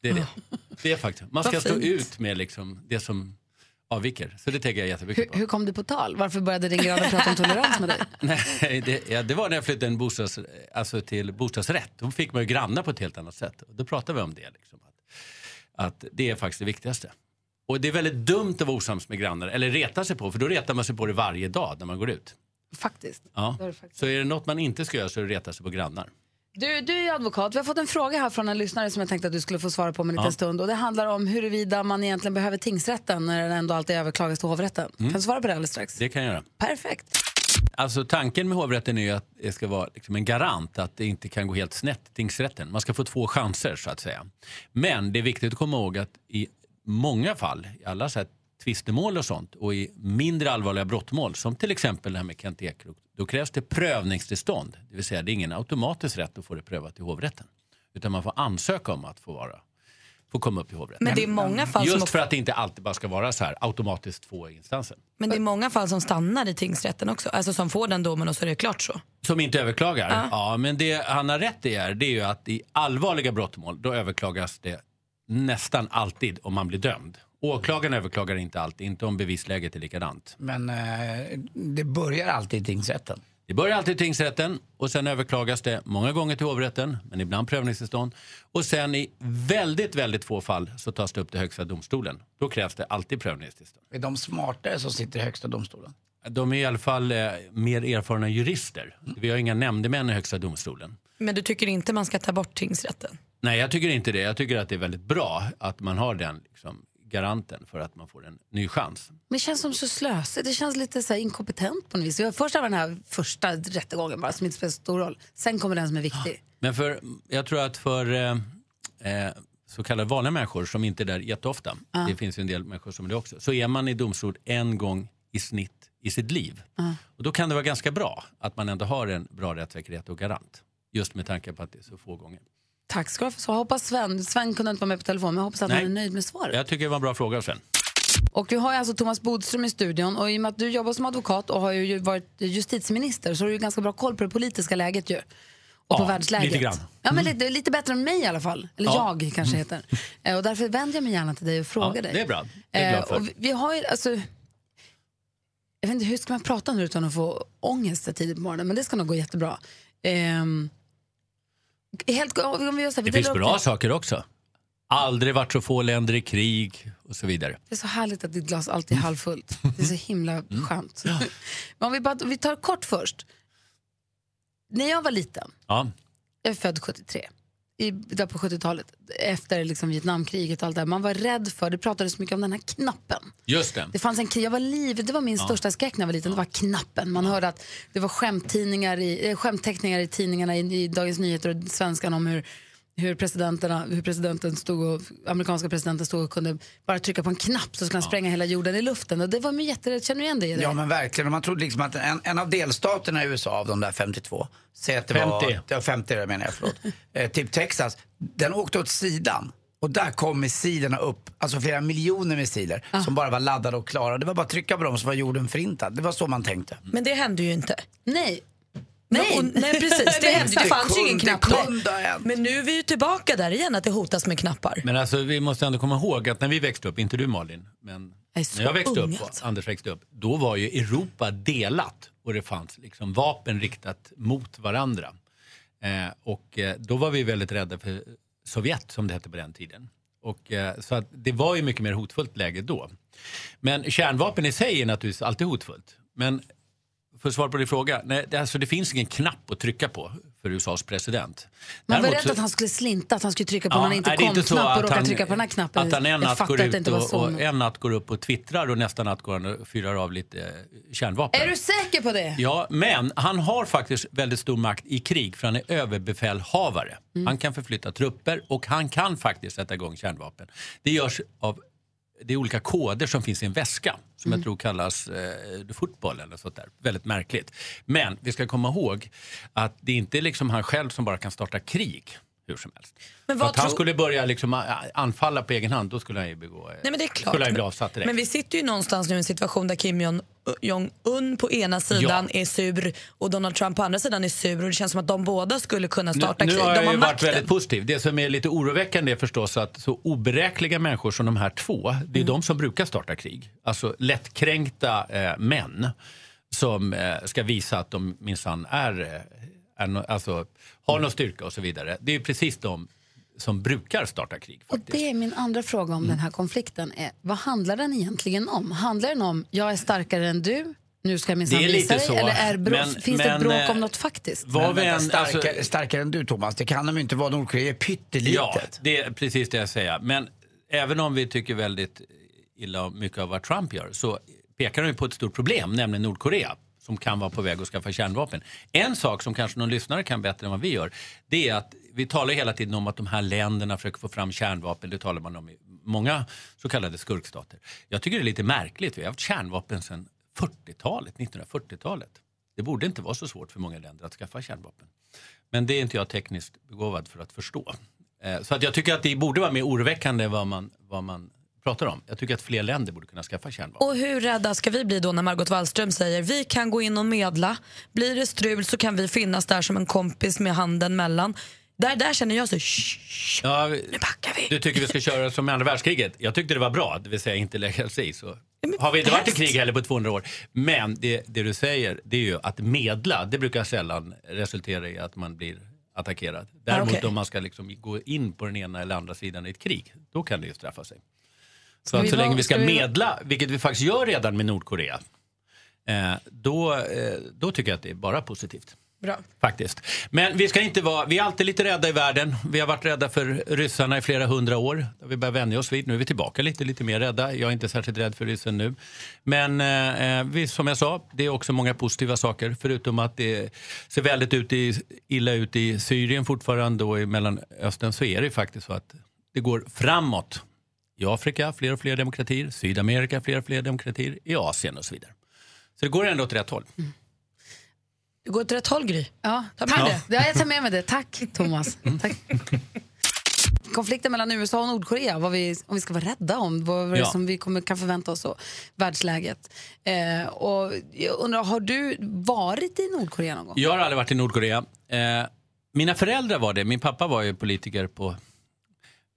[SPEAKER 17] Det är det. Det är faktiskt. Man
[SPEAKER 1] Vad
[SPEAKER 17] ska stå
[SPEAKER 1] fint.
[SPEAKER 17] ut med liksom det som avviker. Så det tänker jag jättemycket
[SPEAKER 1] Hur,
[SPEAKER 17] på.
[SPEAKER 1] hur kom du på tal? Varför började din granne prata om tolerans med dig?
[SPEAKER 17] Nej, det, ja, det var när jag flyttade en bostads, alltså till bostadsrätt. Då fick man ju grannar på ett helt annat sätt. Och då pratade vi om det. Liksom, att, att det är faktiskt det viktigaste. Och det är väldigt dumt att vara osams med grannar, eller reta sig på, för då retar man sig på det varje dag när man går ut.
[SPEAKER 1] Faktiskt.
[SPEAKER 17] Ja.
[SPEAKER 1] Det är det faktiskt.
[SPEAKER 17] Så är det något man inte ska göra så är det reta sig på grannar.
[SPEAKER 1] Du, du är ju advokat. Vi har fått en fråga här från en lyssnare som jag tänkte att du skulle få svara på om en liten
[SPEAKER 17] Ja.
[SPEAKER 1] stund. Och det handlar om huruvida man egentligen behöver tingsrätten när den ändå alltid överklagas till hovrätten.
[SPEAKER 17] Mm.
[SPEAKER 1] Kan du svara på det alldeles strax?
[SPEAKER 17] Det kan jag göra.
[SPEAKER 1] Perfekt.
[SPEAKER 17] Alltså tanken med hovrätten är ju att det ska vara liksom en garant att det inte kan gå helt snett i tingsrätten. Man ska få två chanser så att säga. Men det är viktigt att komma ihåg att i många fall, i alla så här tvistemål och sånt och i mindre allvarliga brottmål som till exempel det här med Kent Ekeroth, då krävs det prövningstillstånd. Det vill säga det är ingen automatisk rätt att få det prövat i hovrätten. Utan man får ansöka om att få vara få komma upp i hovrätten.
[SPEAKER 3] Men det är många fall som
[SPEAKER 17] Just
[SPEAKER 3] också-
[SPEAKER 17] för att det inte alltid bara ska vara så här automatiskt två instanser.
[SPEAKER 3] Men det är många fall som stannar i tingsrätten också, alltså som får den domen och så är det klart så.
[SPEAKER 17] Som inte överklagar?
[SPEAKER 3] Ja.
[SPEAKER 17] Ja. men det han har rätt i är, det är ju att i allvarliga brottmål då överklagas det nästan alltid om man blir dömd. Åklagaren överklagar inte alltid, inte om bevisläget är likadant.
[SPEAKER 2] Men eh, det börjar alltid i tingsrätten.
[SPEAKER 17] Det börjar alltid i tingsrätten och sen överklagas det många gånger till hovrätten, men ibland prövningstillstånd. Och sen i väldigt, väldigt få fall så tas det upp till Högsta domstolen. Då krävs det alltid prövningstillstånd.
[SPEAKER 2] Är de smartare som sitter i Högsta domstolen?
[SPEAKER 17] De är i alla fall eh, mer erfarna jurister. Vi har inga nämndemän i Högsta domstolen.
[SPEAKER 3] Men du tycker inte man ska ta bort tingsrätten?
[SPEAKER 17] Nej, jag tycker inte det. Jag tycker att det är väldigt bra att man har den liksom, garanten för att man får en ny chans.
[SPEAKER 1] Men det känns som så slösigt. Det känns lite så här inkompetent på något vis. Jag- Först var den här första rättegången bara som inte spelar så stor roll. Sen kommer den som är viktig.
[SPEAKER 17] Men för, jag tror att för eh, eh, så kallade vanliga människor som inte är där jätteofta,
[SPEAKER 1] Ja.
[SPEAKER 17] det finns ju en del människor som är det också, så är man i domstol en gång i snitt i sitt liv.
[SPEAKER 1] Ja.
[SPEAKER 17] Och då kan det vara ganska bra att man ändå har en bra rättssäkerhet och garant. Just med tanke på att det är så få gånger.
[SPEAKER 1] Tack ska du ha för svar. Hoppas Sven, Sven kunde inte vara med på telefon men jag hoppas att
[SPEAKER 17] Nej.
[SPEAKER 1] han är nöjd med svaret.
[SPEAKER 17] Jag tycker det var en bra fråga Sven.
[SPEAKER 1] Och vi har ju alltså Thomas Bodström i studion och i och med att du jobbar som advokat och har ju varit justitieminister så har du ju ganska bra koll på det politiska läget ju. Och på
[SPEAKER 17] Ja,
[SPEAKER 1] världsläget.
[SPEAKER 17] lite grann. Mm.
[SPEAKER 1] Ja, men lite, lite bättre än mig i alla fall. Eller
[SPEAKER 17] Ja. Mm.
[SPEAKER 1] jag kanske heter. Eh, Och därför vänder jag mig gärna till dig och frågar
[SPEAKER 17] Ja,
[SPEAKER 1] dig.
[SPEAKER 17] det är bra. Det är jag
[SPEAKER 1] Eh,
[SPEAKER 17] glad för.
[SPEAKER 1] och vi, vi har ju, alltså, jag vet inte, hur ska man prata nu utan att få ångest så tidigt på morgonen? Men det ska nog gå jättebra. Ehm, helt, om vi gör så här, vi
[SPEAKER 17] Det finns
[SPEAKER 1] delar upp
[SPEAKER 17] bra saker också. Aldrig varit så få länder i krig och så vidare.
[SPEAKER 1] Det är så härligt att ditt glas alltid är halvfullt. Det är så himla
[SPEAKER 17] Mm.
[SPEAKER 1] skönt. Men om vi, bara, vi tar kort först. När jag var liten,
[SPEAKER 17] Ja.
[SPEAKER 1] jag är född 73, i, där på 70-talet, efter liksom Vietnamkriget och allt det här, man var rädd för, det pratades så mycket om den här knappen.
[SPEAKER 17] Just det.
[SPEAKER 1] Det fanns en, jag var liv, det var min
[SPEAKER 17] Ja.
[SPEAKER 1] största skräck när jag var liten, det var knappen. Man hörde att det var skämttidningar i, eh, skämtteckningar i tidningarna i, i Dagens Nyheter och Svenskan om hur hur, presidenterna, hur presidenten stod och, amerikanska presidenten stod och kunde bara trycka på en knapp så skulle han spränga hela jorden i luften. Och det var mig jätterädd. Känner du igen det? i det?
[SPEAKER 2] Ja men verkligen. Och Man trodde liksom att en, en av delstaterna i USA av de där 52, säg att det var
[SPEAKER 17] 50.
[SPEAKER 2] ja, 50 det menar jag, förlåt. eh, typ Texas, den åkte åt sidan. Och där kom missilerna upp, alltså flera miljoner missiler som bara var laddade och klara. Det var bara att trycka på dem så var jorden förintad. Det var så man tänkte.
[SPEAKER 3] Men det hände ju inte.
[SPEAKER 1] Nej.
[SPEAKER 3] Nej, och, nej precis. Det,
[SPEAKER 2] Nej,
[SPEAKER 3] hände, det
[SPEAKER 2] det
[SPEAKER 3] fanns ju ingen
[SPEAKER 2] kunde-
[SPEAKER 3] knapp då.
[SPEAKER 2] kunde ha hänt.
[SPEAKER 3] Men nu är vi ju tillbaka där igen, att det hotas med knappar.
[SPEAKER 17] Men alltså, vi måste ändå komma ihåg att när vi växte upp, inte du Malin, men
[SPEAKER 3] Jag är så
[SPEAKER 17] när jag växte
[SPEAKER 3] ung,
[SPEAKER 17] upp och
[SPEAKER 3] alltså.
[SPEAKER 17] Anders växte upp, då var ju Europa delat och det fanns liksom vapen riktat mot varandra. Eh, och eh, då var vi väldigt rädda för Sovjet som det hette på den tiden. Och, eh, så att det var ju mycket mer hotfullt läge då. Men kärnvapen i sig är naturligtvis alltid hotfullt. Men för att svara på din fråga, nej, det, alltså, det finns ingen knapp att trycka på. För för USAs president.
[SPEAKER 5] Man var
[SPEAKER 17] Däremot
[SPEAKER 5] rädd
[SPEAKER 17] så-
[SPEAKER 5] att han skulle slinta, att han skulle trycka på
[SPEAKER 17] Ja,
[SPEAKER 5] man inte
[SPEAKER 17] nej, det är inte så
[SPEAKER 5] kom-knapp och
[SPEAKER 17] att
[SPEAKER 5] råka
[SPEAKER 17] han-
[SPEAKER 5] trycka på den här knappen.
[SPEAKER 17] Att han en
[SPEAKER 5] jag
[SPEAKER 17] natt går
[SPEAKER 5] fattar att det
[SPEAKER 17] ut
[SPEAKER 5] inte var
[SPEAKER 17] och,
[SPEAKER 5] så.
[SPEAKER 17] och en natt går upp och twittrar och nästa natt går han och fyrar av lite eh, kärnvapen.
[SPEAKER 1] Är du säker på det?
[SPEAKER 17] Ja, men han har faktiskt väldigt stor makt i krig för han är överbefälhavare.
[SPEAKER 1] Mm.
[SPEAKER 17] Han kan förflytta trupper och han kan faktiskt sätta igång kärnvapen. Det görs av det är olika koder som finns i en väska som
[SPEAKER 18] Mm.
[SPEAKER 17] jag tror kallas eh, fotboll eller sånt där. Väldigt märkligt. Men vi ska komma ihåg att det är inte liksom han själv som bara kan starta krig hur som helst.
[SPEAKER 3] Men
[SPEAKER 17] Men
[SPEAKER 3] vad
[SPEAKER 17] att han
[SPEAKER 3] tror-
[SPEAKER 17] skulle börja liksom a- a- anfalla på egen hand, då skulle han ju begå... eh,
[SPEAKER 3] Nej, men det är klart.
[SPEAKER 17] Skulle han ju bli avsatt direkt.
[SPEAKER 3] Men vi sitter ju någonstans nu i en situation där Kim Jong- Jong-Un på ena sidan är sur och Donald Trump på andra sidan är sur och det känns som att de båda skulle kunna starta
[SPEAKER 17] nu,
[SPEAKER 3] krig.
[SPEAKER 17] Nu har
[SPEAKER 3] de
[SPEAKER 17] jag
[SPEAKER 3] har
[SPEAKER 17] ju varit
[SPEAKER 3] makten.
[SPEAKER 17] väldigt positiv. Det som är lite oroväckande är förstås att så oberäkliga människor som de här två, det är de som brukar starta krig. Alltså lättkränkta eh, män som eh, ska visa att de minsann är, eh, är no, alltså, har någon styrka och så vidare. Det är ju precis de som brukar starta krig.
[SPEAKER 5] Och det är min andra fråga
[SPEAKER 17] Mm.
[SPEAKER 5] om den här konflikten. Är, vad handlar den egentligen om? Handlar den om jag är starkare än du, nu ska jag minsann
[SPEAKER 17] Det är
[SPEAKER 5] visa
[SPEAKER 17] lite
[SPEAKER 5] dig?
[SPEAKER 17] så,
[SPEAKER 5] Eller är bråk,
[SPEAKER 17] men-
[SPEAKER 5] finns det
[SPEAKER 17] men,
[SPEAKER 5] ett bråk
[SPEAKER 17] eh,
[SPEAKER 5] om något faktiskt?
[SPEAKER 17] vad
[SPEAKER 2] Men
[SPEAKER 17] vi
[SPEAKER 2] vänta,
[SPEAKER 17] än-
[SPEAKER 2] starkare,
[SPEAKER 17] alltså-
[SPEAKER 2] starkare än du Thomas, det kan de ju inte vara. Nordkorea är pyttelitet.
[SPEAKER 17] Ja, det är precis det jag säger. Men även om vi tycker väldigt illa om mycket av vad Trump gör så pekar han ju på ett stort problem, nämligen Nordkorea som kan vara på väg att skaffa kärnvapen. En sak som kanske någon lyssnare kan bättre än vad vi gör, det är att vi talar hela tiden om att de här länderna försöker få fram kärnvapen. Det talar man om i många så kallade skurkstater. Jag tycker det är lite märkligt. Vi har haft kärnvapen sedan 40-talet, 1940-talet. Det borde inte vara så svårt för många länder att skaffa kärnvapen. Men det är inte jag tekniskt begåvad för att förstå. Eh, Så att jag tycker att det borde vara mer oroväckande än vad man, vad man pratar om. Jag tycker att fler länder borde kunna skaffa kärnvapen.
[SPEAKER 3] Och hur rädda ska vi bli då när Margot Wallström säger vi kan gå in och medla, blir det strul så kan vi finnas där som en kompis med handen mellan. Där, där känner jag så, shh,
[SPEAKER 17] Ja, nu backar vi. Du tycker vi ska köra som i andra världskriget. Jag tyckte det var bra, det vill säga inte lägga sig i. Så. Har vi inte varit i krig heller på 200 år. Men det, det du säger, det är ju att medla, det brukar sällan resultera i att man blir attackerad. Däremot
[SPEAKER 3] Okej.
[SPEAKER 17] om man ska liksom gå in på den ena eller andra sidan i ett krig, då kan det ju straffa sig. Så,
[SPEAKER 3] Ska
[SPEAKER 17] att
[SPEAKER 3] vi
[SPEAKER 17] så
[SPEAKER 3] vara-
[SPEAKER 17] länge vi ska
[SPEAKER 3] ska vi-
[SPEAKER 17] medla, vilket vi faktiskt gör redan med Nordkorea, eh, då, eh, då tycker jag att det är bara positivt.
[SPEAKER 3] bra.
[SPEAKER 17] Faktiskt. Men vi ska inte vara, vi är alltid lite rädda i världen. Vi har varit rädda för ryssarna i flera hundra år. Vi börjar vänja oss vid. Nu är vi tillbaka lite, lite mer rädda. Jag är inte särskilt rädd för ryssen nu. Men eh, vi, som jag sa, det är också många positiva saker. Förutom att det ser väldigt ut i, illa ut i Syrien fortfarande och i Mellanöstern så är det ju faktiskt så att det går framåt. I Afrika fler och fler demokratier, Sydamerika fler och fler demokratier, i Asien och så vidare. Så det går ändå åt rätt håll.
[SPEAKER 3] Mm. Det går åt rätt håll Gry.
[SPEAKER 5] Ja,
[SPEAKER 3] Ta med
[SPEAKER 5] tack.
[SPEAKER 3] det.
[SPEAKER 5] Ja, jag tar med mig det. Tack, Thomas. Tack. Konflikten mellan USA och Nordkorea, vad vi, om vi ska vara rädda om, vad vad
[SPEAKER 1] Ja.
[SPEAKER 5] som vi kommer, kan förvänta oss och världsläget. Eh, och jag undrar, har du varit i Nordkorea någon gång?
[SPEAKER 17] Jag har aldrig varit i Nordkorea. Eh, mina föräldrar var det. Min pappa var ju politiker på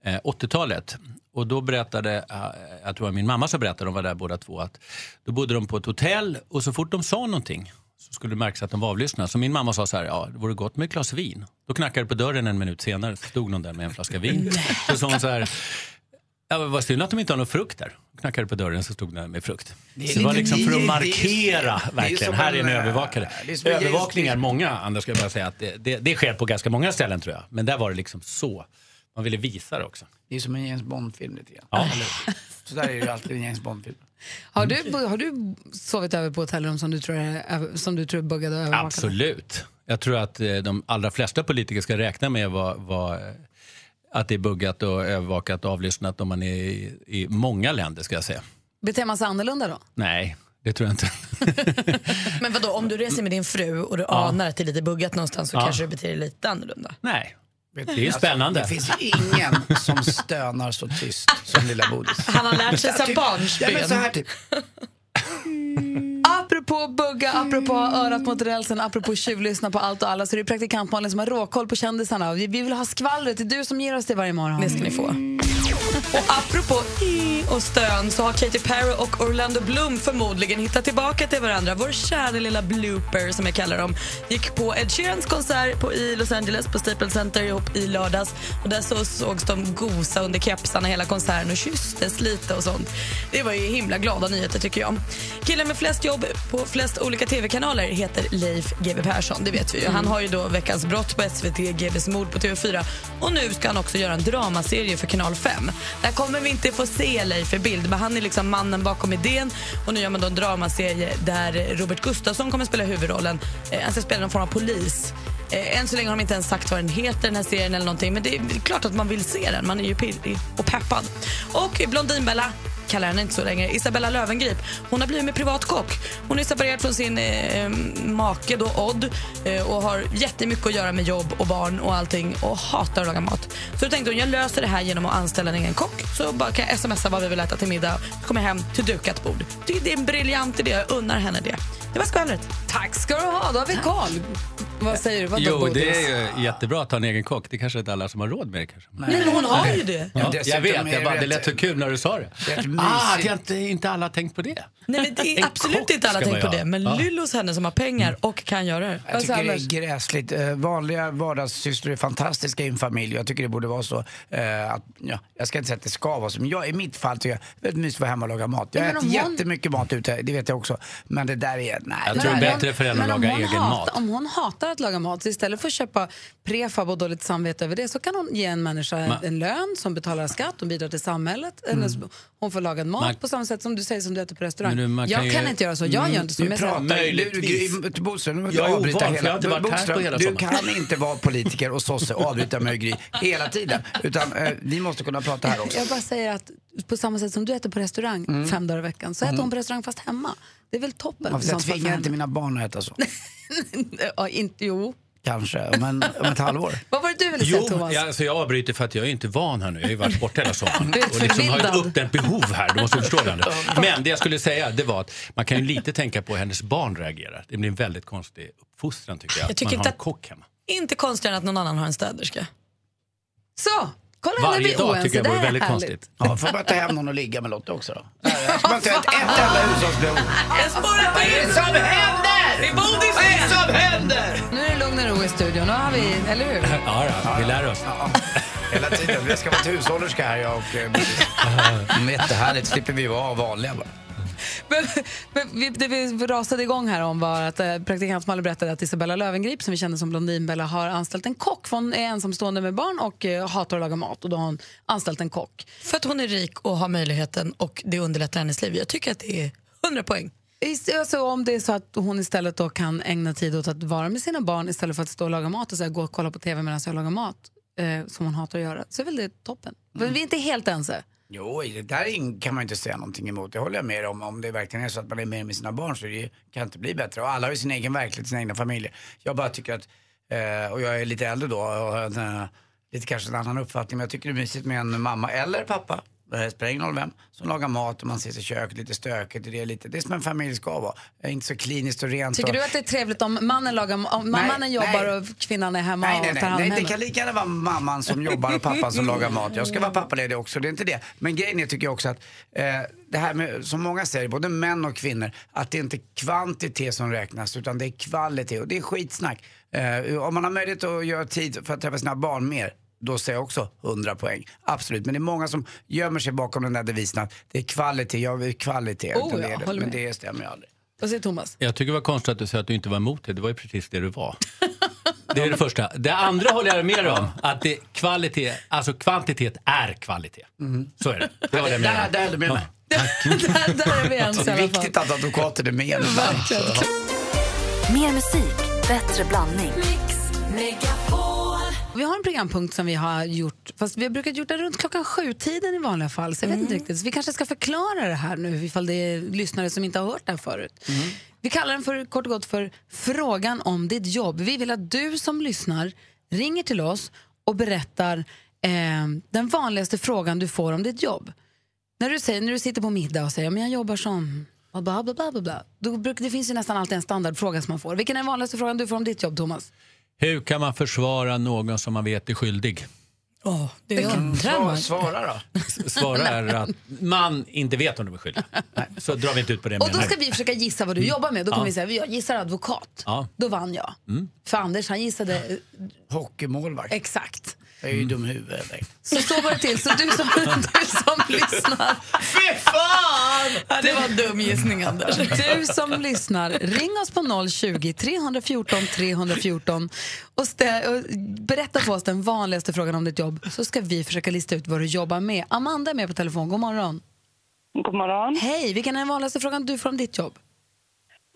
[SPEAKER 17] eh, 80-talet. Och då berättade, eh, jag tror det var min mamma som berättade, de var där båda två, att då bodde de på ett hotell och så fort de sa någonting så skulle det märkas att de var avlyssnade. Så min mamma sa så här, ja, det vore gott med ett glas vin. Då knackade det på dörren en minut senare, så stod någon där med en flaska vin. Så sa hon så här, ja, men vad synd att de inte har någon frukt där. Knackade på dörren så stod den med frukt.
[SPEAKER 2] Det är
[SPEAKER 17] Så det var
[SPEAKER 2] lite-
[SPEAKER 17] liksom för
[SPEAKER 2] det
[SPEAKER 17] att
[SPEAKER 2] är-
[SPEAKER 17] markera,
[SPEAKER 2] det är
[SPEAKER 17] verkligen.
[SPEAKER 2] som
[SPEAKER 17] Här är en
[SPEAKER 2] en, eh,
[SPEAKER 17] övervakare.
[SPEAKER 2] det är som en
[SPEAKER 17] Övervakning är många, Anders, ska jag bara säga att det, det, det sker på ganska många ställen tror jag. Men där var det liksom så. Man ville visa det också.
[SPEAKER 2] Det är som en James Bond-film lite grann.
[SPEAKER 17] Ja.
[SPEAKER 2] Så där är ju alltid en James Bond-film.
[SPEAKER 5] Har du, har du sovit över på hotellrum som du tror är, över- som du tror är buggade och övervakade?
[SPEAKER 17] Absolut. Jag tror att eh, de allra flesta politiker ska räkna med vad, vad, eh, att det är buggat och övervakat och avlyssnat om man är i, i många länder ska jag säga.
[SPEAKER 5] Beter man sig annorlunda då?
[SPEAKER 17] Nej, det tror jag inte.
[SPEAKER 3] Men vadå, om du reser med din fru och du anar att det är lite buggat någonstans så
[SPEAKER 17] Ja.
[SPEAKER 3] kanske du beter dig lite annorlunda.
[SPEAKER 17] Nej.
[SPEAKER 2] Det
[SPEAKER 17] är ju spännande.
[SPEAKER 2] Alltså, det finns ingen som stönar så tyst som lilla Bodis.
[SPEAKER 3] Han har lärt sig
[SPEAKER 2] Ja,
[SPEAKER 3] sedan
[SPEAKER 2] typ.
[SPEAKER 3] Alltså, barnsben.
[SPEAKER 2] Ja, men så här typ.
[SPEAKER 5] Apropå bugga, apropå örat mot rälsen, apropå tjuvlyssna på allt och alla så det är praktikant Malin som har råkoll på kändisarna. Vi vi vill ha skvallret, det är du som ger oss det varje morgon. Det ska ni få.
[SPEAKER 3] Och apropå i och stön så har Katy Perry och Orlando Bloom förmodligen hittat tillbaka till varandra. Vår kära lilla blooper som jag kallar dem gick på Ed Sheerans konsert på, i Los Angeles på Staples Center ihop i lördags. Och där så sågs de gosa under kepsarna hela konserten och kysstes lite och sånt. Det var ju himla glada nyheter tycker jag. Killen med flest jobb på flest olika tv-kanaler heter Leif GW Persson, det vet vi ju. Han har ju då Veckans brott på SVT, GWs mord på TV4 och nu ska han också göra en dramaserie för Kanal 5. Där kommer vi inte få se Leif i bild, men han är liksom mannen bakom idén och nu gör man då en dramaserie där Robert Gustafsson kommer spela huvudrollen. Eh, Han ska spela någon form av polis. Eh, Än så länge har de inte ens sagt vad den heter, den här serien eller någonting, men det är klart att man vill se den. Man är ju pirrig och peppad. Och Blondinbella kallar henne inte så längre, Isabella Lövengrip. Hon har blivit med privatkock. Hon är separerad från sin eh, eh, make då, Odd eh, och har jättemycket att göra med jobb och barn och allting och hatar att laga mat. Så då tänkte hon, jag löser det här genom att anställa en egen kock så bara kan jag smsa vad vi vill äta till middag så kommer jag hem till dukat bord. Tycker det är en briljant idé, jag unnar henne det. Det var skvallret.
[SPEAKER 1] Tack ska du ha, då har vi koll. Vad säger du? Vad
[SPEAKER 17] Jo, det är ju jättebra att ha en egen kock. Det kanske inte alla som har råd med det. Kanske.
[SPEAKER 1] Nej, men hon har ju det.
[SPEAKER 17] Ja, jag
[SPEAKER 2] dessutom är
[SPEAKER 17] vet,
[SPEAKER 2] det
[SPEAKER 17] jag bara, det
[SPEAKER 2] rätt-
[SPEAKER 17] lät så kul när du sa det.
[SPEAKER 2] Det är rätt mysigt.
[SPEAKER 17] ah, att jag inte, inte alla har tänkt på det.
[SPEAKER 3] Nej, men det är
[SPEAKER 17] En
[SPEAKER 3] absolut
[SPEAKER 17] kock
[SPEAKER 3] inte alla
[SPEAKER 17] ska
[SPEAKER 3] tänkt på
[SPEAKER 17] man
[SPEAKER 3] det,
[SPEAKER 17] göra.
[SPEAKER 3] men
[SPEAKER 17] Ja.
[SPEAKER 3] Lyllos henne som har pengar och kan göra det.
[SPEAKER 2] Jag tycker det är gräsligt. Eh, Vanliga vardagssysslor är fantastiska i en familj. Jag tycker det borde vara så. eh, Att, ja, jag ska inte säga att det ska vara så, men jag, i mitt fall tycker jag det är väldigt mysigt att vara hemma och laga mat. Jag
[SPEAKER 1] Ja, men
[SPEAKER 2] äter
[SPEAKER 1] om hon-
[SPEAKER 2] jättemycket mat ute, det vet jag också. Men det där är... Nej,
[SPEAKER 17] Jag tror
[SPEAKER 2] det där-
[SPEAKER 17] bättre för henne att
[SPEAKER 1] Men om
[SPEAKER 17] laga
[SPEAKER 1] hon
[SPEAKER 17] egen
[SPEAKER 1] hatar,
[SPEAKER 17] mat.
[SPEAKER 1] Om hon hatar att laga mat, så istället för att köpa prefab och dåligt samvete över det, så kan hon ge en människa en,
[SPEAKER 17] Ma-
[SPEAKER 1] en lön som betalar skatt, hon bidrar till samhället, eller så- hon får lagad mat
[SPEAKER 17] Man-
[SPEAKER 1] på samma sätt som du säger som du äter på restaurang.
[SPEAKER 17] Men du, man
[SPEAKER 1] jag
[SPEAKER 17] kan ju- Mm,
[SPEAKER 1] kan inte göra så, jag gör inte så.
[SPEAKER 2] Du
[SPEAKER 1] men jag säger-
[SPEAKER 2] pratar ju... du- du- Bodström, du måste
[SPEAKER 17] Jag är
[SPEAKER 2] avbryta
[SPEAKER 17] ovan, för
[SPEAKER 2] hela-
[SPEAKER 17] jag har inte varit här på
[SPEAKER 2] Bodström,
[SPEAKER 17] hela
[SPEAKER 2] Du
[SPEAKER 17] sommaren.
[SPEAKER 2] kan inte vara politiker och sosse och avbryta mig och Gry hela tiden. Utan eh, vi måste kunna prata här också.
[SPEAKER 1] Jag bara säger att på samma sätt som du äter på restaurang
[SPEAKER 2] Mm.
[SPEAKER 1] fem dagar i veckan, så äter
[SPEAKER 2] Mm.
[SPEAKER 1] hon på restaurang fast hemma. Det är väl toppen?
[SPEAKER 2] Varför
[SPEAKER 1] i
[SPEAKER 2] jag
[SPEAKER 1] sånt fall för
[SPEAKER 2] tvingar inte
[SPEAKER 1] henne.
[SPEAKER 2] mina barn att äta så.
[SPEAKER 1] ja, inte, jo.
[SPEAKER 2] Kanske, men om ett halvår.
[SPEAKER 1] Vad var det du ville säga
[SPEAKER 17] Jo,
[SPEAKER 1] Thomas?
[SPEAKER 17] jag, alltså jag avbryter för att jag är inte van här nu. Jag har ju varit borta hela sommaren.
[SPEAKER 1] Du är
[SPEAKER 17] och liksom har ett
[SPEAKER 1] förvildad.
[SPEAKER 17] uppdämt behov här. Du måste förstå det nu. Men det jag skulle säga det var att man kan ju lite tänka på hur hennes barn reagerar. Det blir en väldigt konstig uppfostran tycker jag.
[SPEAKER 3] Jag
[SPEAKER 17] Att
[SPEAKER 3] tycker
[SPEAKER 17] man
[SPEAKER 3] inte
[SPEAKER 17] har en
[SPEAKER 3] att-
[SPEAKER 17] kock hemma.
[SPEAKER 3] Inte konstigare än att någon annan har en städerska.
[SPEAKER 1] Så, kolla här när vi
[SPEAKER 17] Varje
[SPEAKER 1] är
[SPEAKER 17] dag
[SPEAKER 1] oense.
[SPEAKER 17] tycker jag vore
[SPEAKER 1] Det här är
[SPEAKER 17] väldigt
[SPEAKER 1] härligt.
[SPEAKER 17] konstigt.
[SPEAKER 2] Ja, får bara ta hem någon och ligga med Lotta också då. Nej, Jag ska bara ta ett, ett enda hushållsbehov.
[SPEAKER 3] Jag spårar
[SPEAKER 2] Vad är det som händer?
[SPEAKER 3] Det är bodis
[SPEAKER 2] Vad är det som händer?
[SPEAKER 1] Nu är det lugn och ro i studion, nu har vi,
[SPEAKER 17] Mm.
[SPEAKER 1] eller hur?
[SPEAKER 17] Ja, ja, vi lär oss.
[SPEAKER 2] Hela tiden. Jag ska vara till hushållerska här jag och eh, Bodis. Mm, Jättehärligt, slipper vi vara vanliga bara.
[SPEAKER 1] Men, men vi, det vi rasade igång här om var att eh, praktikant Malin berättade att Isabella Lövengrip som vi kände som Blondinbella, har anställt en kock. För hon är ensamstående med barn och eh, hatar att laga mat. Och då har hon anställt en kock.
[SPEAKER 3] För att hon är rik och har möjligheten och det underlättar hennes liv. Jag tycker att det är 100 poäng.
[SPEAKER 1] Is- Alltså, om det är så att hon istället då kan ägna tid åt att vara med sina barn istället för att stå och laga mat och så här, gå och kolla på tv medan jag lagar mat, eh, som hon hatar att göra, så är väl det toppen.
[SPEAKER 17] Mm.
[SPEAKER 1] Men vi är inte helt ense.
[SPEAKER 2] Jo, det där är ing- kan man ju inte säga någonting emot. Det håller jag med om. Om det verkligen är så att man är med med sina barn så det ju- kan inte bli bättre. Och alla har ju sin egen verklighet, sina egna familjer. Jag bara tycker att, eh, och jag är lite äldre då och har en, eh, lite kanske en annan uppfattning, men jag tycker det är mysigt med en mamma eller pappa, Eh, det spelar ingen roll vem, som lagar mat och man ses i köket, lite stökigt och det är lite, det är som en familj ska vara. Eh, Inte så kliniskt och rent.
[SPEAKER 1] Tycker
[SPEAKER 2] och,
[SPEAKER 1] du att det är trevligt om mannen, lagar, ma- om
[SPEAKER 2] Nej,
[SPEAKER 1] mannen jobbar
[SPEAKER 2] nej.
[SPEAKER 1] och kvinnan är hemma
[SPEAKER 2] Nej, nej,
[SPEAKER 1] och tar
[SPEAKER 2] nej,
[SPEAKER 1] hand om
[SPEAKER 2] nej. Det
[SPEAKER 1] hemmet?
[SPEAKER 2] kan lika gärna vara mamman som jobbar och pappan som lagar mat. Jag ska vara pappaledig också, det är inte det. Men grejen är, tycker jag också att eh, det här med, som många säger, både män och kvinnor, att det är inte kvantitet som räknas utan det är kvalitet och det är skitsnack. Eh, om man har möjlighet att göra tid för att träffa sina barn mer, då säger jag också 100 poäng. Absolut, men det är många som gömmer sig bakom den där devisen att det är kvalitet, jag vill kvalitet.
[SPEAKER 1] Oh,
[SPEAKER 2] utan det
[SPEAKER 1] ja,
[SPEAKER 2] är det.
[SPEAKER 1] håller
[SPEAKER 2] Men
[SPEAKER 1] med.
[SPEAKER 2] det stämmer ju aldrig.
[SPEAKER 1] Vad säger Thomas?
[SPEAKER 17] Jag tycker det var konstigt att du sa att du inte var emot det. Det var ju precis det du var. Det är det första. Det andra håller jag med om. Att det, kvalitet, alltså kvantitet är kvalitet.
[SPEAKER 3] Mm.
[SPEAKER 17] Så är det. Det håller jag med
[SPEAKER 2] Där,
[SPEAKER 17] om.
[SPEAKER 2] där håller jag med mig.
[SPEAKER 1] där, där är vi ens i
[SPEAKER 2] Det är
[SPEAKER 1] alla fall.
[SPEAKER 2] viktigt att advokaten är med.
[SPEAKER 4] Mer musik, bättre blandning.
[SPEAKER 1] Vi har en programpunkt som vi har gjort, fast vi har brukat gjort den runt klockan sju-tiden i vanliga fall. Så jag vet inte
[SPEAKER 2] Mm.
[SPEAKER 1] riktigt. Så vi kanske ska förklara det här nu ifall det är lyssnare som inte har hört det här förut.
[SPEAKER 2] Mm.
[SPEAKER 1] Vi kallar den för, kort och gott för Frågan om ditt jobb. Vi vill att du som lyssnar ringer till oss och berättar eh, den vanligaste frågan du får om ditt jobb. När du, säger, när du sitter på middag och säger men jag jobbar som bla bla bla bla bla, bla. Då brukar, det finns ju nästan alltid en standardfråga som man får. Vilken är den vanligaste frågan du får om ditt jobb, Thomas?
[SPEAKER 17] Hur kan man försvara någon som man vet är skyldig?
[SPEAKER 3] Oh, det är jag.
[SPEAKER 2] Svar, svara då.
[SPEAKER 17] Svarar att man inte vet om de är skyldiga. Så drar vi inte ut på det
[SPEAKER 1] Och
[SPEAKER 17] mer
[SPEAKER 1] då
[SPEAKER 17] nu.
[SPEAKER 1] ska vi försöka gissa vad du
[SPEAKER 17] Mm.
[SPEAKER 1] jobbar med. Då kommer
[SPEAKER 17] Ja.
[SPEAKER 1] vi säga, jag gissar advokat.
[SPEAKER 17] Ja.
[SPEAKER 1] Då vann jag.
[SPEAKER 17] Mm.
[SPEAKER 1] För Anders han gissade eh,
[SPEAKER 2] Hockeymålvakt.
[SPEAKER 1] exakt.
[SPEAKER 2] Jag är
[SPEAKER 17] Mm.
[SPEAKER 2] ju dum i huvudet.
[SPEAKER 1] Så så var det till. Så du som, du som lyssnar.
[SPEAKER 2] Fy fan!
[SPEAKER 3] Ja, det var en dum gissning Anders.
[SPEAKER 1] Du som lyssnar, ring oss på 020-314 314 och, stä- och berätta för oss den vanligaste frågan om ditt jobb så ska vi försöka lista ut vad du jobbar med. Amanda är med på telefon. God morgon.
[SPEAKER 18] God morgon.
[SPEAKER 1] Hej, vilken är den vanligaste frågan du får om ditt jobb?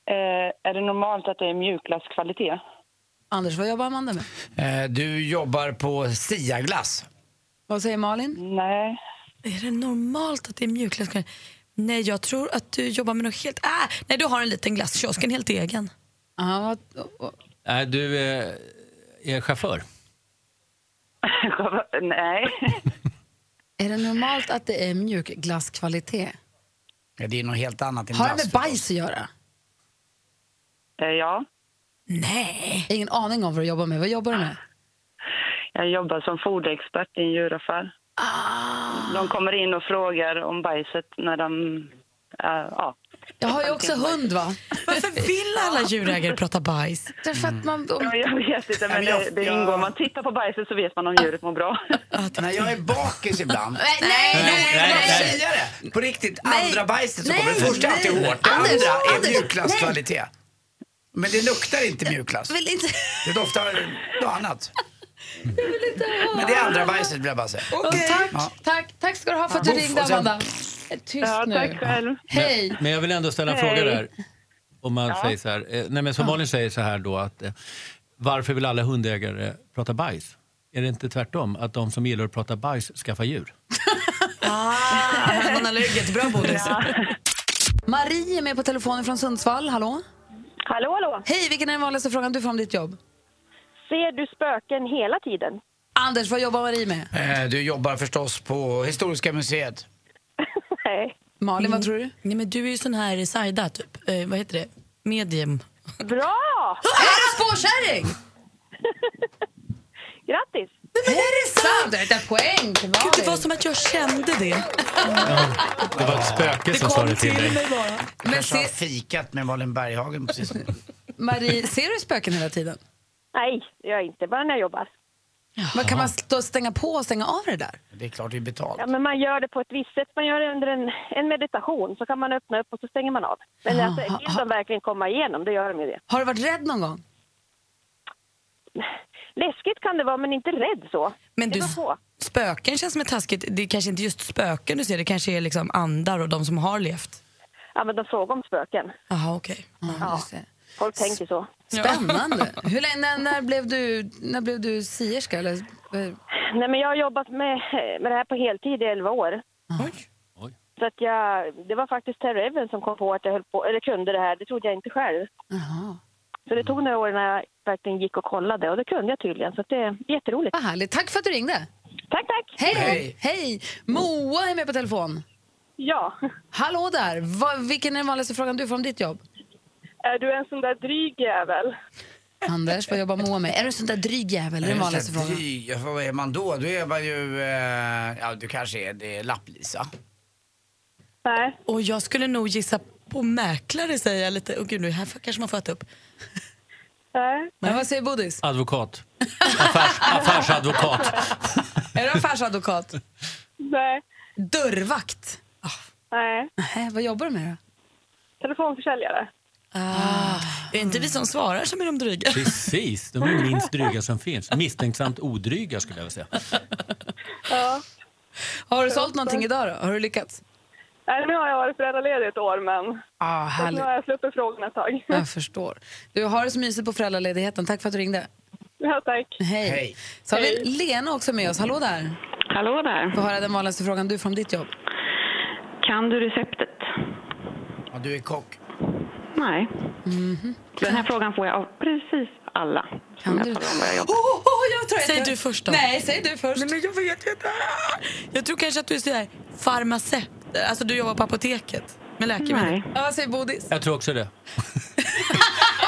[SPEAKER 18] Eh, är det normalt att det är mjukglasskvalitet?
[SPEAKER 1] Anders, vad jobbar Amanda med?
[SPEAKER 2] Eh, Du jobbar på Siaglass.
[SPEAKER 1] Vad säger Malin?
[SPEAKER 18] Nej.
[SPEAKER 3] Är det normalt att det är mjukglass? Nej, jag tror att du jobbar med något helt... Ah, nej, du har en liten glasskiosk, en helt egen.
[SPEAKER 1] Ja,
[SPEAKER 17] Nej, du eh, är chaufför.
[SPEAKER 18] Nej.
[SPEAKER 1] Är det normalt att det är mjukglasskvalitet?
[SPEAKER 2] Ja, Det är något helt annat än
[SPEAKER 1] Har det
[SPEAKER 2] glass.
[SPEAKER 1] med bajs att göra?
[SPEAKER 18] Eh, ja.
[SPEAKER 1] Nej. Ingen aning om vad du jobbar med. Vad jobbar du med?
[SPEAKER 18] Jag jobbar som foderexpert i en djuraffär. De kommer in och frågar om bajset när de... eh, ja.
[SPEAKER 1] Jag har ju också hund, va?
[SPEAKER 3] Varför vill alla djurägare prata bajs?
[SPEAKER 1] Därför att man...
[SPEAKER 18] Ja, jag vet inte, men
[SPEAKER 2] Ja, men
[SPEAKER 18] det,
[SPEAKER 2] jag-
[SPEAKER 18] det ingår. Om man tittar på bajset så vet man om djuret mår bra.
[SPEAKER 2] När jag är bakis ibland.
[SPEAKER 1] Nej, nej,
[SPEAKER 18] nej,
[SPEAKER 2] nej,
[SPEAKER 18] nej.
[SPEAKER 2] säga det. På riktigt,
[SPEAKER 18] Nej.
[SPEAKER 2] andra bajset så
[SPEAKER 18] Nej,
[SPEAKER 2] kommer det första
[SPEAKER 18] nej.
[SPEAKER 2] alltid hårt. Det
[SPEAKER 18] Anders,
[SPEAKER 2] andra
[SPEAKER 18] Anders,
[SPEAKER 2] är
[SPEAKER 18] nej.
[SPEAKER 2] mjukglasskvalitet. Men det luktar inte mjukglass.
[SPEAKER 1] Vill inte...
[SPEAKER 2] Det doftar något annat. Men det är andra bajset vill jag bara säga.
[SPEAKER 1] Tack,
[SPEAKER 2] Ja.
[SPEAKER 1] tack, tack ska du ha för att du
[SPEAKER 2] Ja.
[SPEAKER 1] ringde,
[SPEAKER 2] Och sen-
[SPEAKER 1] Amanda. Tyst nu.
[SPEAKER 18] tack själv.
[SPEAKER 1] Hej!
[SPEAKER 17] Men jag vill ändå ställa en fråga
[SPEAKER 1] Hej.
[SPEAKER 17] där. Om man
[SPEAKER 1] Ja.
[SPEAKER 17] säger så här. eh, Nej, men som Malin säger så här då att eh, varför vill alla hundägare prata bajs? Är det inte tvärtom? Att de som gillar att prata bajs skaffar djur?
[SPEAKER 3] Man har lägget bra bodis.
[SPEAKER 1] Marie är med på telefonen från Sundsvall. Hallå?
[SPEAKER 19] Hallå, hallå.
[SPEAKER 1] Hej, vilken är den vanligaste frågan du får om ditt jobb?
[SPEAKER 19] Ser du spöken hela tiden?
[SPEAKER 1] Anders, vad jobbar Marie med?
[SPEAKER 2] Eh, Du jobbar förstås på Historiska museet.
[SPEAKER 19] Nej.
[SPEAKER 1] Malin,
[SPEAKER 2] Mm.
[SPEAKER 1] vad tror du?
[SPEAKER 3] Nej, men du är ju sån här Saida, typ. Eh, vad heter det? Medium.
[SPEAKER 19] Bra!
[SPEAKER 1] Är du spårkärring?
[SPEAKER 19] Grattis!
[SPEAKER 1] Nej, men är det sant? Det är ett poäng till Malin.
[SPEAKER 3] Det var som att jag kände det.
[SPEAKER 17] Det var ett spöke som sa det till dig.
[SPEAKER 3] bara.
[SPEAKER 2] Jag kanske har fikat med Malin Berghagen precis nu.
[SPEAKER 1] Marie, ser du spöken hela tiden?
[SPEAKER 19] Nej, det gör jag inte. Bara när jag jobbar.
[SPEAKER 1] Men kan man stå och stänga på och stänga av det där?
[SPEAKER 2] Det är klart det är betalt.
[SPEAKER 19] Ja, men man gör det på ett visst sätt. Man gör det under en, en meditation. Så kan man öppna upp och så stänger man av. Men
[SPEAKER 1] Jaha,
[SPEAKER 19] alltså,
[SPEAKER 1] ha-
[SPEAKER 19] vill de verkligen komma igenom, då gör de ju det.
[SPEAKER 1] Har du varit rädd någon gång?
[SPEAKER 19] Läskigt kan det vara, men inte rädd så.
[SPEAKER 3] Men du,
[SPEAKER 19] det beror på.
[SPEAKER 3] spöken känns som ett taskigt... Det är kanske inte just spöken du ser, det kanske är liksom andar och de som har levt.
[SPEAKER 19] Ja, men de frågar om spöken.
[SPEAKER 3] Jaha, okej.
[SPEAKER 19] Ja, folk tänker så.
[SPEAKER 1] Spännande. Hur länge, när, när, blev du, när blev du sierska? Eller, eh,
[SPEAKER 19] Nej, men jag har jobbat med, med det här på heltid i 11 år. Så att jag, det var faktiskt Terry Evans som kom på att jag höll på, eller kunde det här. Det trodde jag inte själv. Så det tog några år när jag verkligen gick och kollade och det kunde jag tydligen. Så att det är jätteroligt.
[SPEAKER 1] Vad härligt. Tack för att du ringde.
[SPEAKER 19] Tack, tack.
[SPEAKER 1] Hej, hej. Moa är med på telefon.
[SPEAKER 19] Ja.
[SPEAKER 1] Hallå där. Va, vilken är den vanligaste frågan du får om ditt jobb?
[SPEAKER 19] Är du en sån där dryg jävel?
[SPEAKER 1] Anders, vad jobbar Moa med? Är du en sån där dryg jävel? Det är den vanligaste
[SPEAKER 2] Så här,
[SPEAKER 1] frågan.
[SPEAKER 2] dry, ja, Vad är man då? Då är man ju... Eh, ja, du kanske är det är lapplisa.
[SPEAKER 19] Nej.
[SPEAKER 3] Och jag skulle nog gissa på mäklare, säger jag lite. Åh gud, nu här kanske man får äta upp.
[SPEAKER 19] Nej.
[SPEAKER 1] Men vad säger Bodis?
[SPEAKER 17] Advokat. Affärs, affärsadvokat.
[SPEAKER 1] Är du affärsadvokat?
[SPEAKER 19] Nej.
[SPEAKER 1] Dörrvakt?
[SPEAKER 19] Nej.
[SPEAKER 1] Nej, vad jobbar du med då?
[SPEAKER 19] Telefonförsäljare.
[SPEAKER 3] Ah. Är det inte vi som svarar som är de dryga?
[SPEAKER 17] Precis, de är ju minst dryga som finns. Misstänksamt odryga skulle jag vilja säga.
[SPEAKER 19] Ja.
[SPEAKER 1] Har du sålt någonting idag då? Har du lyckats?
[SPEAKER 19] Nej, nu har jag varit föräldraledig ett år, men
[SPEAKER 1] Ah, härligt.
[SPEAKER 19] nu har jag sluppit frågorna ett tag.
[SPEAKER 1] Jag förstår. Du har det så mysigt på föräldraledigheten. Tack för att du ringde.
[SPEAKER 19] Ja, tack.
[SPEAKER 1] Hej. Så har vi Lena också med oss. Hallå där.
[SPEAKER 19] Hallå där.
[SPEAKER 1] Få höra den vanligaste frågan du får om ditt jobb.
[SPEAKER 19] Kan du receptet?
[SPEAKER 2] Ja, du är kock.
[SPEAKER 19] Nej. Den här frågan får jag av precis alla som jag talar om vad jag jobbar
[SPEAKER 1] Oh, oh, jag tror jag
[SPEAKER 3] Säg du först då.
[SPEAKER 1] Nej, säg du först.
[SPEAKER 3] Nej, men jag vet ju inte. Jag tror kanske att du är sådär farmaceut. Alltså du jobbar på apoteket med läkemedel.
[SPEAKER 17] Nej.
[SPEAKER 1] Ja, säg Bodis.
[SPEAKER 17] Jag tror också det.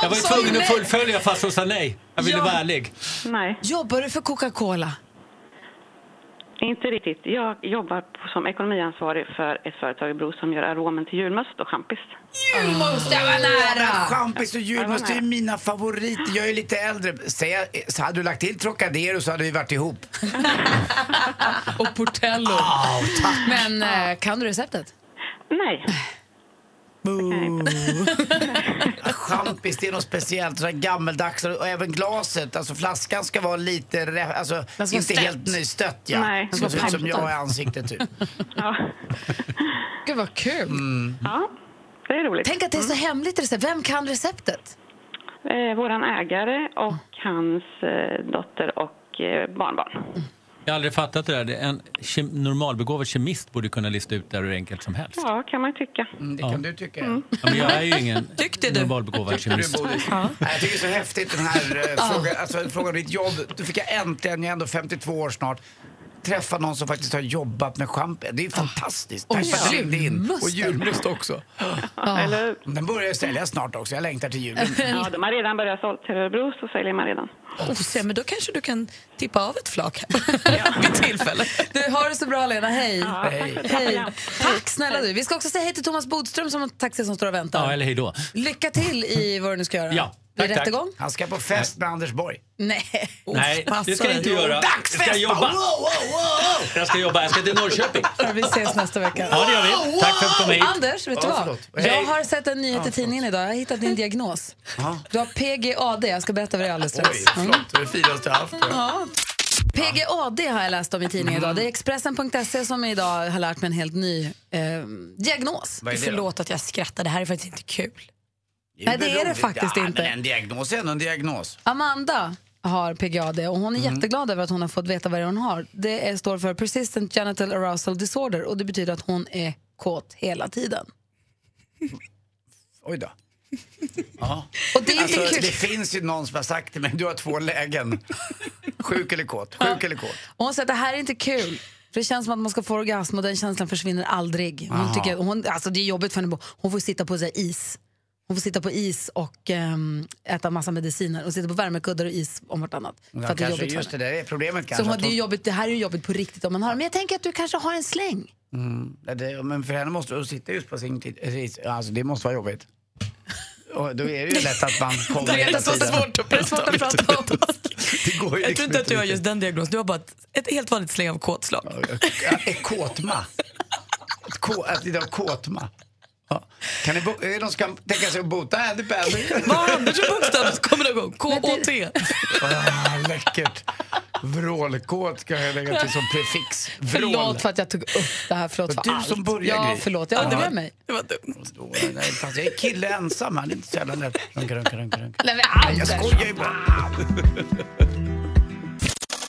[SPEAKER 17] Jag
[SPEAKER 1] Hon
[SPEAKER 17] var ju
[SPEAKER 1] sa ju
[SPEAKER 17] tvungen att
[SPEAKER 1] nej.
[SPEAKER 17] fullfölja fast hon sa nej. Jag ville
[SPEAKER 1] Ja.
[SPEAKER 17] vara ärlig.
[SPEAKER 19] Nej.
[SPEAKER 1] Jobbar du för Coca-Cola?
[SPEAKER 11] Inte riktigt. Jag jobbar på- som ekonomiansvarig för ett företag i Bro som gör aromen till julmust och champis.
[SPEAKER 2] Julmust, jag
[SPEAKER 1] Mm.
[SPEAKER 2] var
[SPEAKER 11] nära!
[SPEAKER 2] Champis och julmust
[SPEAKER 11] Jag var
[SPEAKER 2] är ju mina favoriter. Jag är ju lite äldre. Säg, så hade du lagt till Trocadero så hade vi varit ihop.
[SPEAKER 1] och Portello. Men eh, kan du receptet?
[SPEAKER 11] Nej.
[SPEAKER 2] Champis, det är något speciellt. Sådär gammeldags. Och även glaset, alltså flaskan ska vara lite, re- alltså
[SPEAKER 1] Den ska
[SPEAKER 2] inte
[SPEAKER 1] vara
[SPEAKER 2] helt
[SPEAKER 1] stött.
[SPEAKER 2] nystött ja.
[SPEAKER 11] Nej.
[SPEAKER 2] Den ska se ut som
[SPEAKER 11] Pampad.
[SPEAKER 2] jag i ansiktet typ.
[SPEAKER 1] Gud vad kul.
[SPEAKER 11] Ja, det är roligt.
[SPEAKER 1] Mm. Tänk att det är så hemligt recept. Vem kan receptet?
[SPEAKER 11] Eh, våran ägare och hans eh, dotter och eh, barnbarn.
[SPEAKER 19] Mm.
[SPEAKER 17] Jag har aldrig fattat det där. Det är En ke- normalbegåvad kemist borde kunna lista ut det här hur enkelt som helst.
[SPEAKER 11] Ja, kan man tycka.
[SPEAKER 19] Mm.
[SPEAKER 2] Mm, det kan du tycka.
[SPEAKER 1] Mm.
[SPEAKER 17] Ja, men jag är ju ingen
[SPEAKER 2] Tyckte
[SPEAKER 11] du?
[SPEAKER 17] normalbegåvad
[SPEAKER 2] Tyckte du,
[SPEAKER 17] kemist.
[SPEAKER 2] Bodil? Nej, Jag tycker det är så häftigt den här eh, frågan, alltså, frågan om ditt jobb. Då fick jag äntligen, jag är ändå 52 år snart, träffa någon som faktiskt har jobbat med schampi.
[SPEAKER 1] Ah.
[SPEAKER 2] Det är fantastiskt.
[SPEAKER 1] Och
[SPEAKER 2] Tack för att du ringde in.
[SPEAKER 1] julmusten.
[SPEAKER 2] Och julmust också.
[SPEAKER 11] Eller-
[SPEAKER 2] Den börjar ju säljas snart också. Jag längtar till julen.
[SPEAKER 11] Ja, de har redan börjat sålt till Örebro, så säljer man redan.
[SPEAKER 3] Oh, se, men då kanske du kan tippa av ett flak här.
[SPEAKER 1] Du, har det så bra Lena, hej.
[SPEAKER 3] Ja, tack för ett bra
[SPEAKER 1] hej.
[SPEAKER 3] program.
[SPEAKER 1] Tack snälla du. Vi ska också säga hej till Thomas Bodström som har en taxi som står och väntar.
[SPEAKER 17] Ja, eller hej då.
[SPEAKER 1] Lycka till i vad du nu ska göra.
[SPEAKER 17] Ja,
[SPEAKER 1] Vid
[SPEAKER 17] tack, tack.
[SPEAKER 1] rättegång?
[SPEAKER 2] Han ska på fest med Anders Borg.
[SPEAKER 1] Nej.
[SPEAKER 17] Nej, det ska jag inte göra. Jag
[SPEAKER 2] Dagsfest!
[SPEAKER 17] ska jobba. Jag ska jobba. Jag ska till Norrköping.
[SPEAKER 1] Vi ses nästa vecka.
[SPEAKER 17] Ja, det gör vi. Tack för att du kom hit.
[SPEAKER 1] Anders, vet du
[SPEAKER 17] Ja,
[SPEAKER 1] vad?
[SPEAKER 17] förlåt.
[SPEAKER 1] Jag
[SPEAKER 17] Hej.
[SPEAKER 1] har sett en nyhet
[SPEAKER 17] Ja,
[SPEAKER 1] i tidningen idag. Jag har hittat din diagnos. Du har PGAD. Jag ska berätta vad det är alldeles strax.
[SPEAKER 2] Oj, förlåt. Det är det finaste jag haft.
[SPEAKER 1] Ja. PGAD har jag läst om i tidningen
[SPEAKER 2] Mm.
[SPEAKER 1] idag. Det är Expressen.se E som idag har lärt mig en helt ny eh, diagnos.
[SPEAKER 2] Vad är det då? Förlåt
[SPEAKER 1] att jag skrattar, det här är faktiskt inte kul.
[SPEAKER 2] ju
[SPEAKER 1] Nej, det är det
[SPEAKER 2] roligt.
[SPEAKER 1] faktiskt
[SPEAKER 2] ja,
[SPEAKER 1] inte.
[SPEAKER 2] Men en diagnos är ändå en diagnos.
[SPEAKER 1] Amanda har PGAD och hon är
[SPEAKER 2] Mm.
[SPEAKER 1] jätteglad över att hon har fått veta vad det är hon har. Det är, står för Persistent Genital Arousal Disorder och det betyder att hon är kåt hela tiden.
[SPEAKER 2] Oj då. Ja.
[SPEAKER 1] Och det, är
[SPEAKER 2] alltså,
[SPEAKER 1] inte kul.
[SPEAKER 2] det finns ju någon som har sagt till mig, du har två lägen. Sjuk eller kåt, sjuk eller kåt.
[SPEAKER 1] Och hon säger att det här är inte kul. För det känns som att man ska få orgasm och den känslan försvinner aldrig. Hon
[SPEAKER 2] Aha.
[SPEAKER 1] tycker, hon, alltså det är jobbigt för henne. Hon får sitta på så här is. Hon får sitta på is och ehm, äta massa mediciner. Och sitta på värmekuddar och is om vartannat. För
[SPEAKER 2] Ja,
[SPEAKER 1] att det är
[SPEAKER 2] kanske
[SPEAKER 1] jobbigt
[SPEAKER 2] just det
[SPEAKER 1] för henne.
[SPEAKER 2] där är problemet
[SPEAKER 1] Så
[SPEAKER 2] kanske.
[SPEAKER 1] hon,
[SPEAKER 2] att
[SPEAKER 1] det, är ju jobbigt, det här är ju jobbigt på riktigt om man har det. Men jag tänker att du kanske har en släng.
[SPEAKER 2] Mm. Ja, Det, men för henne måste hon sitta just på sin tid. precis. Alltså det måste vara jobbigt. Och då är det ju lätt att man kommer hela tiden.
[SPEAKER 3] Det är svårt att prata om.
[SPEAKER 2] Det går ju
[SPEAKER 3] Jag
[SPEAKER 2] liksom
[SPEAKER 3] tror inte att du har just den diagnosen. Du har bara ett, ett helt vanligt släng av kåtslag.
[SPEAKER 2] Ja, Är kåtma. Ett K, att det är kåtma. Ja. Kan ni bo, är det någon som kan tänka sig att bota Andy Pandy?
[SPEAKER 3] Vad Anders och bokstav kommer du ihåg? K-O-T.
[SPEAKER 2] Ah, läckert. Vrålkåt ska jag lägga till som prefix. Vrål.
[SPEAKER 1] Förlåt för att jag tog upp det här. Förlåt för
[SPEAKER 2] Du
[SPEAKER 1] allt.
[SPEAKER 2] som börjar,
[SPEAKER 1] Ja,
[SPEAKER 2] Gry.
[SPEAKER 1] förlåt. Jag
[SPEAKER 2] Ja.
[SPEAKER 1] ångrar mig.
[SPEAKER 3] Det var dumt.
[SPEAKER 2] Nej, fast jag är kille ensam här. Det är inte så jävla lätt. Runka, runka, runka, runka.
[SPEAKER 1] Nej,
[SPEAKER 2] Nej, jag skojar ju bara.